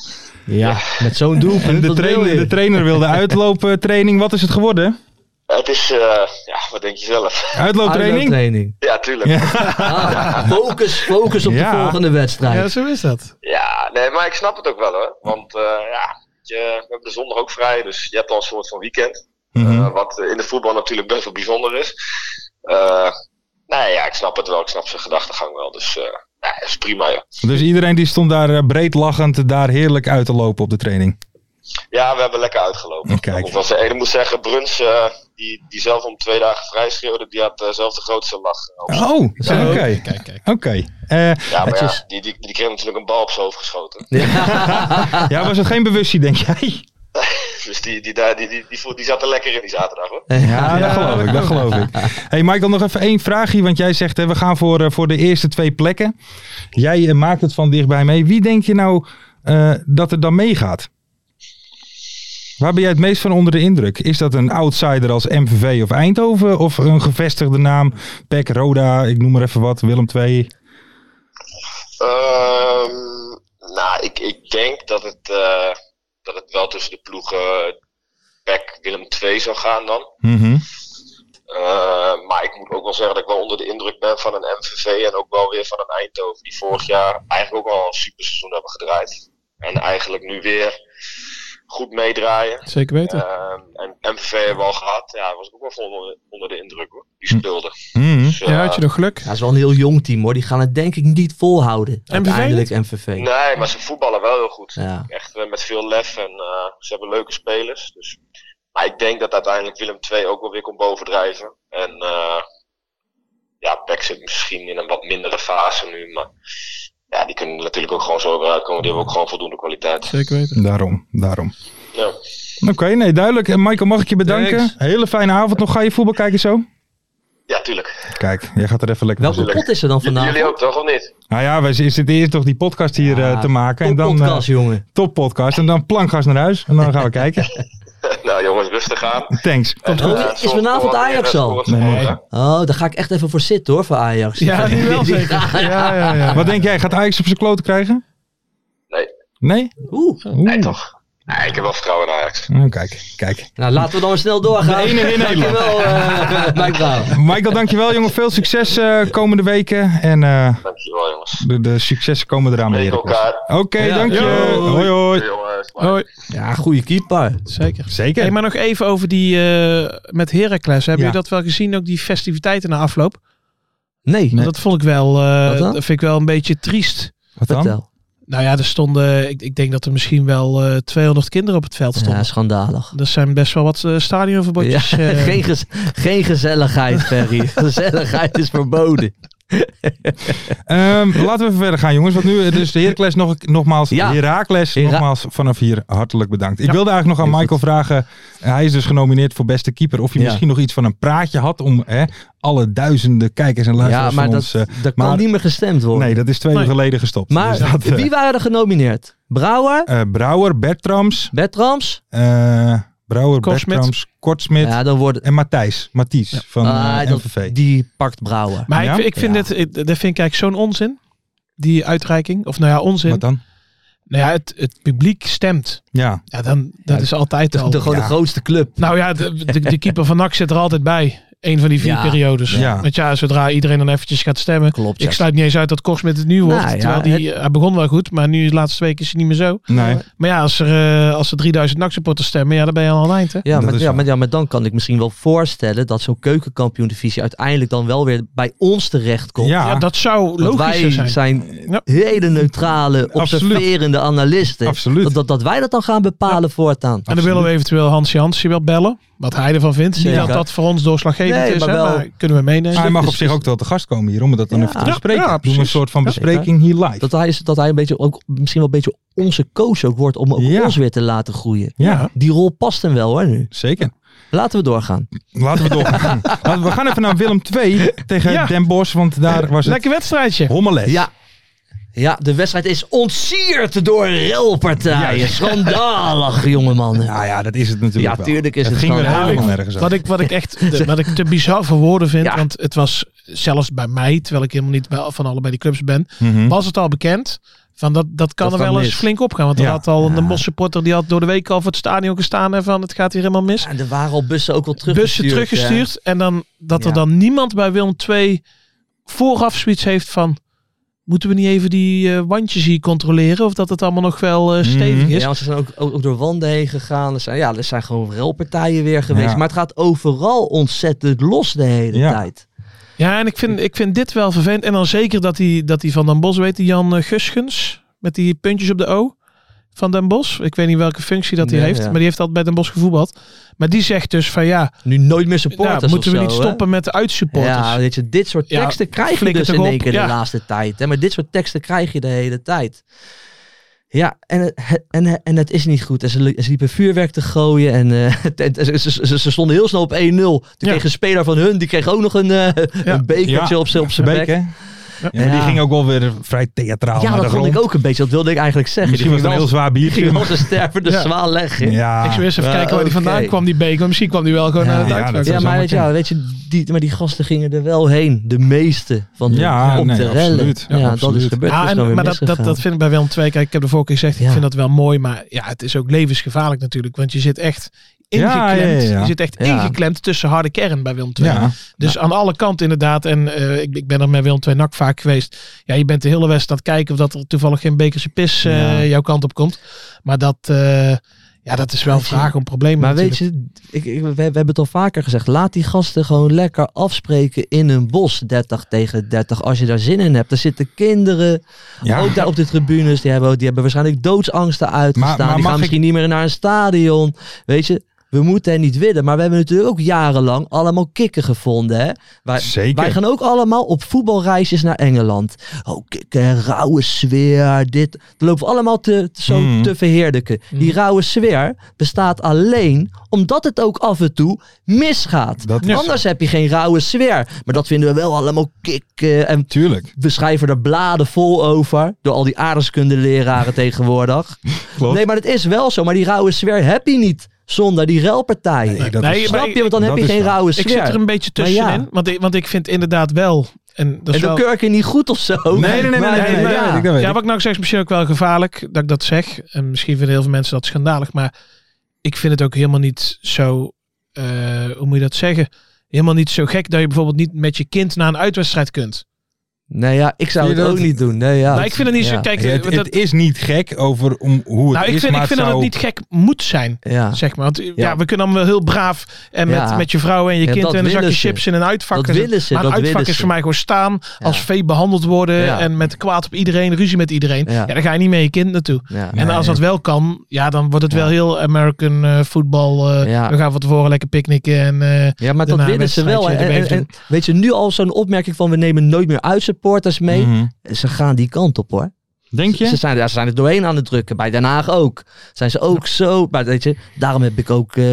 Speaker 5: Ja, met zo'n doelpunt.
Speaker 4: En de,
Speaker 5: dat wil
Speaker 4: trainer,
Speaker 5: je.
Speaker 4: de trainer wilde uitlooptraining. Wat is het geworden?
Speaker 7: Het is, eh, ja, wat denk je zelf?
Speaker 4: Uitlooptraining?
Speaker 5: Uitlooptraining.
Speaker 7: Ja, tuurlijk.
Speaker 5: Ah, focus, focus op de
Speaker 4: Ja.
Speaker 5: volgende wedstrijd.
Speaker 6: Ja, zo is dat.
Speaker 7: Ja, nee, maar ik snap het ook wel hoor. Want eh, ja, je, we hebben de zondag ook vrij, dus je hebt al een soort van weekend.
Speaker 4: Mhm.
Speaker 7: Eh, wat eh, in de voetbal natuurlijk best wel bijzonder is. Eh nee, ja, ik snap het wel. Ik snap zijn gedachtegang wel. Dus eh ja, is prima joh.
Speaker 4: Dus iedereen die stond daar eh, breed lachend daar heerlijk uit te lopen op de training.
Speaker 7: Ja, we hebben lekker uitgelopen.
Speaker 4: Kijk.
Speaker 7: Ik moet wel zeggen, ik moet zeggen, Bruns, eh, die, die zelf om twee dagen vrij schreeuwde, die had eh, zelf de grootste lach. eh, op-
Speaker 4: Oh, oké.
Speaker 6: Kijk, kijk.
Speaker 4: Oké. Eh,
Speaker 7: Ja, maar
Speaker 5: netjes.
Speaker 7: ja, die, die, die kreeg natuurlijk een bal op zijn hoofd geschoten.
Speaker 4: ja, was het geen bewustzijn, denk jij?
Speaker 7: Dus die, die, daar- die, die, die, voel- die zat er lekker in die zaterdag hoor.
Speaker 4: Ja, dat geloof ik, dat geloof ik. hey Mike, dan nog even één vraagje, want jij zegt hè, we gaan voor, eh, voor de eerste twee plekken. Jij eh, maakt het van dichtbij mee. Wie denk je nou eh, dat er dan meegaat? Waar ben jij het meest van onder de indruk? Is dat een outsider als MVV of Eindhoven? Of een gevestigde naam? PEC, Roda, ik noem maar even wat. Willem II.
Speaker 7: Ehm, nou, ik, ik denk dat het, eh, dat het wel tussen de ploegen PEC Willem II zou gaan dan.
Speaker 4: Mhm.
Speaker 7: Eh, maar ik moet ook wel zeggen dat ik wel onder de indruk ben van een MVV en ook wel weer van een Eindhoven. Die vorig jaar eigenlijk ook al een super seizoen hebben gedraaid. En eigenlijk nu weer goed meedraaien.
Speaker 6: Zeker weten.
Speaker 7: Ehm, en MVV hebben we al gehad. Ja, daar was ik ook wel van onder, onder de indruk hoor. Die speelden.
Speaker 4: Mhm.
Speaker 7: Dus, eh,
Speaker 6: ja, had je nog geluk.
Speaker 5: dat is wel een heel jong team hoor. Die gaan het denk ik niet volhouden. Uiteindelijk MVV.
Speaker 7: Nee, maar ze voetballen wel heel goed.
Speaker 5: Ja.
Speaker 7: Echt eh, met veel lef en eh, ze hebben leuke spelers. Dus. Maar ik denk dat uiteindelijk Willem II ook wel weer komt bovendrijven. En eh, ja, PEC zit misschien in een wat mindere fase nu. Maar ja, die kunnen natuurlijk ook gewoon zo weer uitkomen. Die hebben ook gewoon voldoende kwaliteit.
Speaker 6: Zeker weten.
Speaker 4: Daarom, daarom.
Speaker 7: Ja.
Speaker 4: Oké, nee, duidelijk. En Michael, mag ik je bedanken?
Speaker 3: Thanks.
Speaker 4: Hele fijne avond nog. Ga je voetbal kijken zo?
Speaker 7: ja, tuurlijk.
Speaker 4: Kijk, jij gaat er even lekker
Speaker 5: Welke
Speaker 4: voor
Speaker 5: pot is er dan
Speaker 7: J- jullie
Speaker 5: vandaag?
Speaker 7: ook toch, of niet?
Speaker 4: zitten. Nou ja, wij zitten eerst toch die podcast hier
Speaker 5: Ja,
Speaker 4: eh, te maken. En dan
Speaker 5: podcast jongen.
Speaker 4: top podcast. En dan plankgas naar huis. En dan gaan we kijken.
Speaker 7: nou jongens, rustig aan.
Speaker 4: Thanks.
Speaker 7: En,
Speaker 5: goed.
Speaker 7: eh,
Speaker 5: Oh, is
Speaker 7: zorg
Speaker 5: vanavond
Speaker 7: voor wat meer
Speaker 5: Ajax
Speaker 7: rust
Speaker 5: al?
Speaker 7: voor het volgende.
Speaker 4: Nee.
Speaker 5: Oh, daar ga ik echt even voor zitten hoor, voor Ajax.
Speaker 6: Ja,
Speaker 5: Die-
Speaker 6: die wel
Speaker 5: die-
Speaker 6: zeker. Ja, ja, ja.
Speaker 4: Wat denk jij? Gaat Ajax op zijn kloten krijgen?
Speaker 7: Nee.
Speaker 4: Nee?
Speaker 5: Oeh.
Speaker 4: Oeh.
Speaker 7: Nee, toch? Nee, ik heb wel vertrouwen in Ajax.
Speaker 4: Oh, kijk, kijk.
Speaker 5: Nou, laten we dan maar snel doorgaan. De ene in Nederland. Dankjewel, eh, Mike Brouw.
Speaker 4: Michael, dankjewel jongen. Veel succes eh, komende weken. En eh,
Speaker 7: Dankjewel jongens.
Speaker 4: de, de successen komen eraan.
Speaker 7: Met
Speaker 4: meneer de Kok.
Speaker 7: elkaar.
Speaker 4: Oké,
Speaker 5: Ja.
Speaker 4: dank je.
Speaker 6: Yo.
Speaker 4: Hoi hoi.
Speaker 7: Jongens, bye.
Speaker 6: Hoi.
Speaker 5: Ja, goede keeper.
Speaker 6: Zeker.
Speaker 4: Zeker.
Speaker 6: Hey, maar nog even over die eh, met Heracles. Hebben
Speaker 4: Ja.
Speaker 6: jullie dat wel gezien? Ook die festiviteiten na afloop.
Speaker 5: Nee,
Speaker 6: Want Dat vond ik wel. eh,
Speaker 5: Wat dan?
Speaker 6: dat vind ik wel een beetje triest.
Speaker 4: Wat dan?
Speaker 5: vertel.
Speaker 6: Nou ja, er stonden. Ik, ik denk dat er misschien wel eh 200 kinderen op het veld
Speaker 5: Ja,
Speaker 6: stonden.
Speaker 5: schandalig.
Speaker 6: Dat zijn best wel wat eh, stadionverbodjes.
Speaker 5: Ja,
Speaker 6: eh.
Speaker 5: geen, gez- geen gezelligheid, Ferry. gezelligheid is verboden.
Speaker 4: Ehm, laten we even verder gaan, jongens. Want nu, eh, dus de Heracles nog, nogmaals,
Speaker 5: Ja.
Speaker 4: Heracles,
Speaker 5: Hera-
Speaker 4: nogmaals vanaf hier hartelijk bedankt. Ik
Speaker 6: Ja.
Speaker 4: wilde eigenlijk nog aan
Speaker 5: Heel
Speaker 4: Michael vragen, eh, hij is dus genomineerd voor beste keeper, of je
Speaker 5: Ja.
Speaker 4: misschien nog iets van een praatje had om hè, alle duizenden kijkers en
Speaker 5: Ja,
Speaker 4: luisteraars
Speaker 5: maar
Speaker 4: van
Speaker 5: dat,
Speaker 4: ons... eh,
Speaker 5: dat kan
Speaker 4: maar-
Speaker 5: niet meer gestemd worden.
Speaker 4: nee, dat is twee
Speaker 6: Nee.
Speaker 4: uur geleden gestopt.
Speaker 5: maar
Speaker 4: Dus dat, eh,
Speaker 5: wie waren er genomineerd? Brouwer?
Speaker 4: eh, Brouwer, Bertrams,
Speaker 5: Bertrams?
Speaker 4: eh, Brouwer,
Speaker 6: Kortsmit.
Speaker 4: Bertrams, Kortsmit
Speaker 5: Ja, dan wordt...
Speaker 4: en Matthijs, Matthijs van
Speaker 5: Ah,
Speaker 4: eh,
Speaker 5: dat-
Speaker 4: MVV.
Speaker 5: die pakt Brouwer.
Speaker 6: Maar
Speaker 4: Ja?
Speaker 6: ik, ik vind
Speaker 5: Ja.
Speaker 6: dit, ik- dat vind ik eigenlijk zo'n onzin. Die uitreiking. Of nou ja, onzin.
Speaker 4: Wat dan?
Speaker 6: Nou ja, het, het publiek stemt.
Speaker 4: Ja,
Speaker 6: Ja, dan, dat is altijd
Speaker 5: de,
Speaker 6: al.
Speaker 5: de- gewoon
Speaker 4: ja.
Speaker 5: de grootste club.
Speaker 6: Nou ja, de, de, de keeper van NAC zit er altijd bij. Eén van die vier
Speaker 5: Ja.
Speaker 6: periodes.
Speaker 4: Ja.
Speaker 6: Want ja, zodra iedereen dan eventjes gaat stemmen.
Speaker 5: Klopt, ja.
Speaker 6: Ik sluit niet eens uit dat Koks met het nu wordt.
Speaker 5: Nou ja,
Speaker 6: terwijl die, eh, hij begon wel goed, maar nu de laatste week is hij niet meer zo.
Speaker 4: nee.
Speaker 6: Maar ja, als er, eh, als er 3000 NAC-supporters stemmen, ja, dan ben je al aan het eind, hè?
Speaker 5: Ja,
Speaker 4: Dat
Speaker 5: maar,
Speaker 4: is
Speaker 5: ja,
Speaker 4: waar.
Speaker 5: maar, ja, maar dan kan ik misschien wel voorstellen dat zo'n keukenkampioen-divisie uiteindelijk dan wel weer bij ons terechtkomt.
Speaker 4: Ja,
Speaker 6: Ja, dat zou
Speaker 5: dat wij
Speaker 6: logischer zijn.
Speaker 5: zijn,
Speaker 6: Ja.
Speaker 5: hele neutrale,
Speaker 4: Absoluut.
Speaker 5: observerende analisten.
Speaker 4: Absoluut.
Speaker 5: Dat, dat, dat wij dat dan gaan bepalen voortaan.
Speaker 6: En dan willen we eventueel Hans Jansje wel bellen. Wat hij ervan vindt. Niet
Speaker 5: Zeker.
Speaker 6: dat dat voor ons doorslaggevend
Speaker 5: Nee,
Speaker 6: is,
Speaker 5: maar
Speaker 6: hè,
Speaker 5: wel-
Speaker 6: maar kunnen we meenemen.
Speaker 4: Maar hij mag
Speaker 5: Dus-
Speaker 4: op zich ook wel te gast komen hier om dat dan
Speaker 5: Ja.
Speaker 4: even te
Speaker 5: Ja,
Speaker 4: bespreken.
Speaker 6: ja,
Speaker 4: Doen we een
Speaker 6: precies.
Speaker 4: soort van
Speaker 6: Ja.
Speaker 4: bespreking hier live.
Speaker 5: Dat hij, is- dat hij een beetje ook, misschien wel een beetje onze coach ook wordt om ook
Speaker 4: Ja.
Speaker 5: ons weer te laten groeien.
Speaker 4: ja,
Speaker 5: Die rol past hem wel hoor nu.
Speaker 4: zeker.
Speaker 5: Laten we doorgaan.
Speaker 4: Laten we doorgaan. Laten we we gaan even naar Willem 2 tegen
Speaker 6: Ja.
Speaker 4: Den Bosch, want daar was het
Speaker 6: Lekker wedstrijdje.
Speaker 4: hommeles.
Speaker 5: Ja. Ja, de wedstrijd is ontsierd door relpartijen.
Speaker 4: Juist.
Speaker 5: Schandalig, jongeman.
Speaker 4: Nou ja, dat is het natuurlijk
Speaker 5: Ja,
Speaker 4: wel.
Speaker 5: tuurlijk is
Speaker 4: het
Speaker 5: het
Speaker 4: ging weer
Speaker 5: gewoon-
Speaker 4: helemaal nergens
Speaker 6: Wat
Speaker 4: over.
Speaker 6: ik, wat ik echt de- wat ik te bizar voor woorden vind.
Speaker 5: Ja.
Speaker 6: Want het was zelfs bij mij, terwijl ik helemaal niet bij, van allebei die clubs ben,
Speaker 4: Mhm.
Speaker 6: was het al bekend. Van dat, dat kan
Speaker 5: Dat
Speaker 6: er wel
Speaker 5: kan
Speaker 6: eens
Speaker 5: mis.
Speaker 6: flink op gaan. Want er
Speaker 4: Ja.
Speaker 6: had al een Bos supporter die had door de week al voor het stadion gestaan. En van het gaat hier helemaal mis.
Speaker 5: En er waren al bussen ook al teruggestuurd.
Speaker 6: Bussen teruggestuurd. En dan dat er
Speaker 5: Ja.
Speaker 6: dan niemand bij Willem 2 vooraf zoiets heeft van. Moeten we niet even die eh, wandjes hier controleren? Of dat het allemaal nog wel eh, stevig
Speaker 4: Mhm.
Speaker 5: Ja,
Speaker 6: is?
Speaker 5: want ze zijn ook, ook, ook door wanden heen gegaan. Er zijn, ja, er zijn gewoon relpartijen weer geweest.
Speaker 4: Ja.
Speaker 5: Maar het gaat overal ontzettend los de hele
Speaker 4: Ja.
Speaker 5: tijd.
Speaker 6: Ja, en ik vind, ik vind dit wel vervelend. En dan zeker dat die, dat die van Den Bos weet, die Jan eh, Guskens. Met die puntjes op de O van Den Bos. Ik weet niet welke functie dat hij
Speaker 5: Ja,
Speaker 6: heeft.
Speaker 5: ja.
Speaker 6: Maar die heeft altijd bij Den Bos gevoetbald. Maar die zegt dus van ja,
Speaker 5: Nu nooit meer
Speaker 6: nou,
Speaker 5: supporters
Speaker 6: moeten we
Speaker 5: of
Speaker 6: niet
Speaker 5: zo,
Speaker 6: stoppen met de
Speaker 5: Hè?
Speaker 6: uitsupporters.
Speaker 5: Ja, weet je, dit soort
Speaker 6: Ja,
Speaker 5: teksten krijg je
Speaker 6: flikker
Speaker 5: dus
Speaker 6: toch
Speaker 5: in één
Speaker 6: op,
Speaker 5: keer
Speaker 6: ja.
Speaker 5: de laatste tijd. Hè? Maar dit soort teksten krijg je de hele tijd. Ja, en, het- en, en het is niet goed. En ze, li- ze liepen vuurwerk te gooien. En eh, en ze, ze- ze- ze stonden heel snel op 1-0. Toen
Speaker 6: Ja.
Speaker 5: kreeg een speler van hun, die kreeg ook nog een, eh,
Speaker 6: Ja.
Speaker 5: een bekertje
Speaker 4: Ja.
Speaker 5: op zijn op zijn
Speaker 4: Beek,
Speaker 5: bek.
Speaker 4: hè? Ja, maar die ging ook wel weer vrij
Speaker 5: Ja,
Speaker 4: theatraal naar
Speaker 5: dat
Speaker 4: de
Speaker 5: vond
Speaker 4: grond.
Speaker 5: ik ook een beetje. Dat wilde ik eigenlijk zeggen.
Speaker 4: Misschien was
Speaker 5: Die
Speaker 4: het een heel
Speaker 5: ging
Speaker 4: zwaar
Speaker 5: wel- die
Speaker 4: biertje.
Speaker 5: ging
Speaker 4: maar-
Speaker 5: wel de stervende
Speaker 6: Ja.
Speaker 5: zwaar leggen.
Speaker 6: Ik
Speaker 4: Ja,
Speaker 6: zou eerst even
Speaker 5: Ja,
Speaker 6: kijken waar die
Speaker 5: oké.
Speaker 6: vandaan kwam, die beker. Misschien kwam die wel gewoon
Speaker 5: Ja,
Speaker 6: naar het
Speaker 4: ja,
Speaker 6: uitvak.
Speaker 4: dat
Speaker 5: Ja,
Speaker 4: zou
Speaker 5: maar,
Speaker 4: zomaar
Speaker 5: weet je, ja,
Speaker 4: kunnen.
Speaker 5: weet je die, maar die gasten gingen er wel heen. De meeste van de
Speaker 4: Ja,
Speaker 5: om
Speaker 4: nee,
Speaker 5: te rellen.
Speaker 4: absoluut.
Speaker 5: Ja,
Speaker 4: Ja,
Speaker 5: dat
Speaker 4: absoluut.
Speaker 5: is gebeurd.
Speaker 6: Ja,
Speaker 5: dat is
Speaker 6: Ah, en-
Speaker 5: gewoon weer
Speaker 6: maar dat, dat,
Speaker 5: misgegaan.
Speaker 6: dat vind ik bij Willem II. Kijk, ik heb de vorige keer gezegd,
Speaker 5: Ja.
Speaker 6: ik vind dat wel mooi. Maar ja, het is ook levensgevaarlijk natuurlijk. Want je zit echt ingeklemd.
Speaker 4: Ja, ja, ja.
Speaker 6: Je zit echt
Speaker 5: Ja.
Speaker 6: ingeklemd tussen harde kern bij Willem II.
Speaker 4: Ja.
Speaker 6: Dus
Speaker 5: Nou.
Speaker 6: aan alle kanten inderdaad. En eh, ik, ik ben er met Willem II NAC vaak geweest. Ja, je bent de hele wedstrijd aan het kijken of dat er toevallig geen bekerse pis eh,
Speaker 5: Ja.
Speaker 6: jouw kant op komt. Maar dat, eh, ja, dat is wel een
Speaker 5: Weet je-
Speaker 6: vraag om problemen
Speaker 5: Maar weet
Speaker 6: natuurlijk.
Speaker 5: je, ik, ik- we, we hebben het al vaker gezegd. Laat die gasten gewoon lekker afspreken in een bos. 30 tegen 30. Als je daar zin in hebt. Er zitten kinderen.
Speaker 4: Ja.
Speaker 5: Ook daar op de tribunes. Die hebben, die hebben waarschijnlijk doodsangsten uitgestaan.
Speaker 4: Maar- maar
Speaker 5: die
Speaker 4: mag
Speaker 5: gaan
Speaker 4: ik-
Speaker 5: misschien niet meer naar een stadion. Weet je. We moeten hen niet willen, maar we hebben natuurlijk ook jarenlang allemaal kikken gevonden. Hè? Wij,
Speaker 4: Zeker.
Speaker 5: Wij gaan ook allemaal op voetbalreisjes naar Engeland. Oh, kikken, rauwe sfeer, dit. Dan lopen we allemaal te, te- zo
Speaker 4: Mm.
Speaker 5: te verheerlijken. Die rauwe sfeer bestaat alleen omdat het ook af en toe misgaat.
Speaker 4: Dat is
Speaker 5: Anders heb je geen rauwe sfeer. Maar dat vinden we wel allemaal kikken. En
Speaker 4: Tuurlijk.
Speaker 5: we schrijven er bladen vol over. Door al die aardrijkskundeleraren tegenwoordig.
Speaker 4: Klopt.
Speaker 5: Nee, maar het is wel zo. Maar die rauwe sfeer heb je niet zonder die relpartijen.
Speaker 4: Nee, dat
Speaker 6: Nee,
Speaker 4: is-
Speaker 6: maar-
Speaker 5: Snap je? Want dan
Speaker 4: dat
Speaker 5: heb je
Speaker 4: is
Speaker 5: geen
Speaker 4: waar.
Speaker 5: rauwe sfeer.
Speaker 6: Ik zit er een beetje
Speaker 5: Maar ja.
Speaker 6: tussenin. want, ik, want ik vind inderdaad wel... En dat
Speaker 5: en
Speaker 6: is
Speaker 5: dan
Speaker 6: wel,
Speaker 5: keur ik je niet goed of zo.
Speaker 4: nee, nee,
Speaker 5: Maar,
Speaker 4: nee, nee, nee,
Speaker 5: eh,
Speaker 4: nee,
Speaker 5: ja.
Speaker 4: nee, dat weet
Speaker 6: Ja,
Speaker 4: ik.
Speaker 6: wat ik nou zeg is misschien ook wel gevaarlijk dat ik dat zeg. En misschien vinden heel veel mensen dat schandalig. Maar ik vind het ook helemaal niet zo, eh, hoe moet je dat zeggen? Helemaal niet zo gek dat je bijvoorbeeld niet met je kind naar een uitwedstrijd kunt.
Speaker 5: Nee, ja, ik zou
Speaker 4: Zie
Speaker 5: het
Speaker 4: je
Speaker 5: ook
Speaker 4: dat?
Speaker 5: niet doen. Nee, ja.
Speaker 6: nou, ik vind het niet
Speaker 5: ja.
Speaker 6: zo, kijk,
Speaker 4: Ja, het,
Speaker 6: dat,
Speaker 4: het is niet gek over om, hoe het
Speaker 6: nou,
Speaker 4: is,
Speaker 6: ik vind,
Speaker 4: maar
Speaker 6: ik vind dat
Speaker 4: zou...
Speaker 6: het niet gek moet zijn.
Speaker 5: Ja.
Speaker 6: Zeg maar. Want ja.
Speaker 5: Ja.
Speaker 6: we kunnen allemaal wel heel braaf en met,
Speaker 5: Ja.
Speaker 6: met je vrouw en je
Speaker 5: Ja,
Speaker 6: kind
Speaker 5: dat
Speaker 6: en een zakje
Speaker 5: willen ze.
Speaker 6: chips in een uitvak.
Speaker 5: Dat
Speaker 6: en zo.
Speaker 5: willen ze,
Speaker 6: Maar een
Speaker 5: dat
Speaker 6: uitvak
Speaker 5: willen
Speaker 6: is
Speaker 5: ze.
Speaker 6: voor mij gewoon staan,
Speaker 5: Ja.
Speaker 6: als vee behandeld worden
Speaker 5: Ja.
Speaker 6: en met kwaad op iedereen, ruzie met iedereen.
Speaker 5: Ja.
Speaker 6: Ja, dan ga je niet met je kind naartoe.
Speaker 5: Ja.
Speaker 6: En als dat wel kan, ja, dan wordt het
Speaker 5: Ja.
Speaker 6: wel heel American eh, voetbal. eh,
Speaker 5: Ja.
Speaker 6: We gaan van tevoren lekker picknicken. En, eh,
Speaker 5: Ja, maar dat
Speaker 6: daarna
Speaker 5: willen ze wel. En,
Speaker 6: wedstrijdje
Speaker 5: en-
Speaker 6: erbij
Speaker 5: en- weet je, nu al zo'n opmerking van we nemen nooit meer uitsupporters mee.
Speaker 4: Mhm.
Speaker 5: Ze gaan die kant op hoor.
Speaker 4: Denk
Speaker 5: Ze
Speaker 4: je?
Speaker 5: zijn, ja, ze zijn er doorheen aan het drukken. Bij Den Haag ook. Zijn ze ook zo. Maar weet je, daarom heb ik ook eh,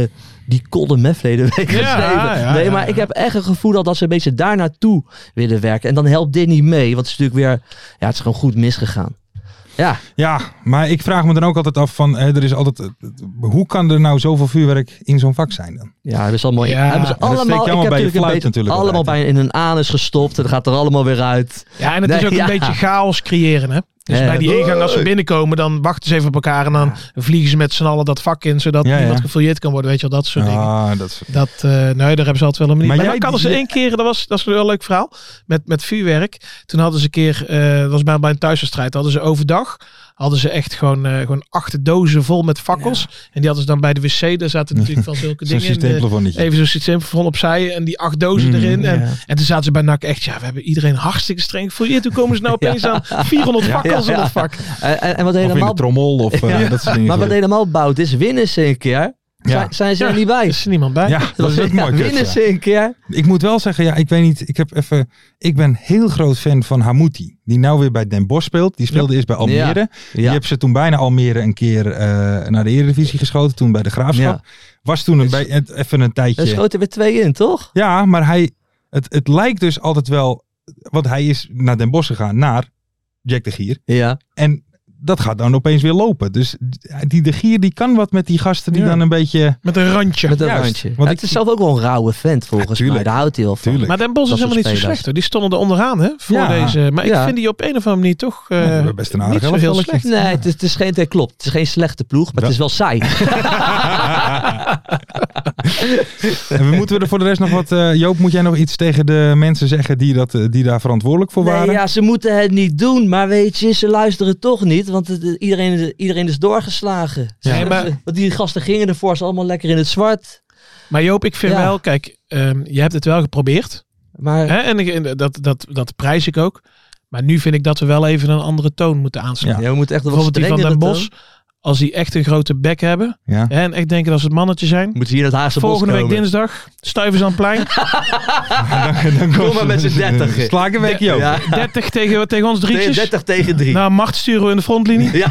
Speaker 5: die kolde met verleden week
Speaker 6: Ja,
Speaker 5: geschreven.
Speaker 6: ja,
Speaker 5: nee,
Speaker 6: ja,
Speaker 5: maar
Speaker 6: ja.
Speaker 5: ik heb echt een gevoel dat, dat ze een beetje daar naartoe willen werken. En dan helpt dit niet mee. Want het is natuurlijk weer, ja, het is gewoon goed misgegaan. Ja,
Speaker 4: Ja, maar ik vraag me dan ook altijd af van, hè, er is altijd, eh, hoe kan er nou zoveel vuurwerk in zo'n vak zijn dan?
Speaker 5: Ja, hebben ze allemaal,
Speaker 6: Ja,
Speaker 5: hebben ze
Speaker 6: dat
Speaker 4: steekt je
Speaker 5: allemaal, ik heb
Speaker 4: allemaal bij je
Speaker 5: natuurlijk een
Speaker 4: fluit
Speaker 5: beetje
Speaker 4: natuurlijk
Speaker 5: allemaal
Speaker 4: altijd,
Speaker 5: bij in hun anus gestopt en dat gaat er allemaal weer uit.
Speaker 6: ja, en het is
Speaker 5: Nee,
Speaker 6: ook een
Speaker 5: ja.
Speaker 6: beetje chaos creëren. Hè? Dus
Speaker 5: Ja.
Speaker 6: bij die ingang, als ze binnenkomen, dan wachten ze even op elkaar. En dan vliegen ze met z'n allen dat vak in, zodat
Speaker 4: Ja, ja.
Speaker 6: niemand gefouilleerd kan worden. Weet je wel, dat soort dingen.
Speaker 4: Ah, dat is...
Speaker 6: Dat, eh nee, daar hebben ze altijd wel een manier.
Speaker 4: Maar
Speaker 6: Maar,
Speaker 4: jij-
Speaker 6: dan hadden ze
Speaker 4: jij-
Speaker 6: één keer, dat was, dat is wel een leuk verhaal, met, met vuurwerk. Toen hadden ze een keer, eh, dat was bij, bij een thuiswedstrijd, hadden ze overdag, hadden ze echt gewoon, eh gewoon acht dozen vol met fakkels. En die hadden ze dan bij de wc, daar zaten natuurlijk van zulke
Speaker 4: Zo'n
Speaker 6: dingen in. de-
Speaker 4: systeemplafonnetje.
Speaker 6: Even zo'n systeem van opzij en die acht dozen
Speaker 4: Mm,
Speaker 6: erin. En,
Speaker 5: ja.
Speaker 6: en toen zaten ze bij NAC echt, ja, we hebben iedereen hartstikke streng gefouilleerd. Toen komen ze nou opeens aan 400 fakkels
Speaker 5: Ja, ja.
Speaker 6: in het vak.
Speaker 5: En, en, en wat
Speaker 4: Of in de
Speaker 5: helemaal,
Speaker 4: trommel, of eh, dat soort dingen.
Speaker 5: maar wat helemaal bouwt is, winnen ze een keer, zijn, zijn ze er
Speaker 6: Ja.
Speaker 5: niet bij.
Speaker 6: Is er niemand bij?
Speaker 4: ja, dat is ook
Speaker 5: Ja,
Speaker 4: mooi. kut,
Speaker 5: Winnen
Speaker 4: ja.
Speaker 5: ze een keer.
Speaker 4: Ik moet wel zeggen, ja, ik weet niet. Ik, heb even, ik ben heel groot fan van Hamouti. Die nou weer bij Den Bosch speelt. Die speelde eerst bij Almere. Die
Speaker 5: Ja.
Speaker 4: heb ze toen bijna Almere een keer eh, naar de Eredivisie geschoten. Toen bij de Graafschap. Was toen een, bij, het- even een
Speaker 5: Daar
Speaker 4: tijdje.
Speaker 5: schoten we twee in, toch?
Speaker 4: Ja, maar hij, het, het lijkt dus altijd wel... Want hij is naar Den Bosch gegaan. Naar Jack de Gier.
Speaker 5: Ja.
Speaker 4: En dat gaat dan opeens weer lopen. Dus die de Gier die kan wat met die gasten die
Speaker 6: Ja.
Speaker 4: dan een beetje...
Speaker 6: Met een randje.
Speaker 5: Met een
Speaker 4: Juist,
Speaker 5: randje.
Speaker 4: want
Speaker 5: Ja,
Speaker 4: ik-
Speaker 5: het is zelf ook wel een rauwe vent volgens
Speaker 4: Ja,
Speaker 5: mij. Daar houdt hij wel van.
Speaker 4: Tuurlijk.
Speaker 6: Maar Den Bos is
Speaker 5: Dat soort
Speaker 6: helemaal niet zo
Speaker 5: spelers.
Speaker 6: slecht hoor. Die stonden er onderaan hè, voor
Speaker 4: Ja.
Speaker 6: deze. Maar
Speaker 5: Ja.
Speaker 6: ik vind die op een of andere manier toch eh,
Speaker 4: Ja, we hebben best een aardig
Speaker 6: niet zo heel
Speaker 4: elftalletje.
Speaker 6: slecht.
Speaker 5: Nee, het is, het is geen, het klopt. Het is geen slechte ploeg, maar het is wel saai.
Speaker 4: En we moeten er voor de rest nog wat. eh, Joop, moet jij nog iets tegen de mensen zeggen die, dat, eh, die daar verantwoordelijk voor waren?
Speaker 5: Nee, ja, ze moeten het niet doen, maar weet je, ze luisteren toch niet, want het- het- iedereen, iedereen is doorgeslagen.
Speaker 6: Ja,
Speaker 5: Ze-
Speaker 6: maar-
Speaker 5: ze- want die gasten gingen ervoor, ze allemaal lekker in het zwart.
Speaker 6: Maar Joop, ik vind
Speaker 5: Ja.
Speaker 6: wel, kijk, ehm, je hebt het wel geprobeerd.
Speaker 5: Maar
Speaker 6: Hè? En, ik- en dat, dat, dat prijs ik ook. Maar nu vind ik dat we wel even een andere toon moeten aanslaan.
Speaker 5: ja, we moeten echt wel wat
Speaker 6: Bijvoorbeeld die van
Speaker 5: strengere toon.
Speaker 6: Den Bos. Als die echt een grote bek hebben.
Speaker 4: Ja.
Speaker 6: Hè, en echt denken dat ze het mannetje zijn.
Speaker 5: Moeten ze hier in het Haagse
Speaker 6: Volgende
Speaker 5: Bos
Speaker 6: week
Speaker 5: komen.
Speaker 6: dinsdag, stuivers aan het plein.
Speaker 4: Dan
Speaker 5: Kom maar met z'n dertigen.
Speaker 4: Sla ik een week, Joop.
Speaker 5: Ja,
Speaker 6: 30 tegen, tegen ons drietjes.
Speaker 5: 30 tegen 3.
Speaker 6: Nou, macht sturen we in de frontlinie.
Speaker 5: Ja.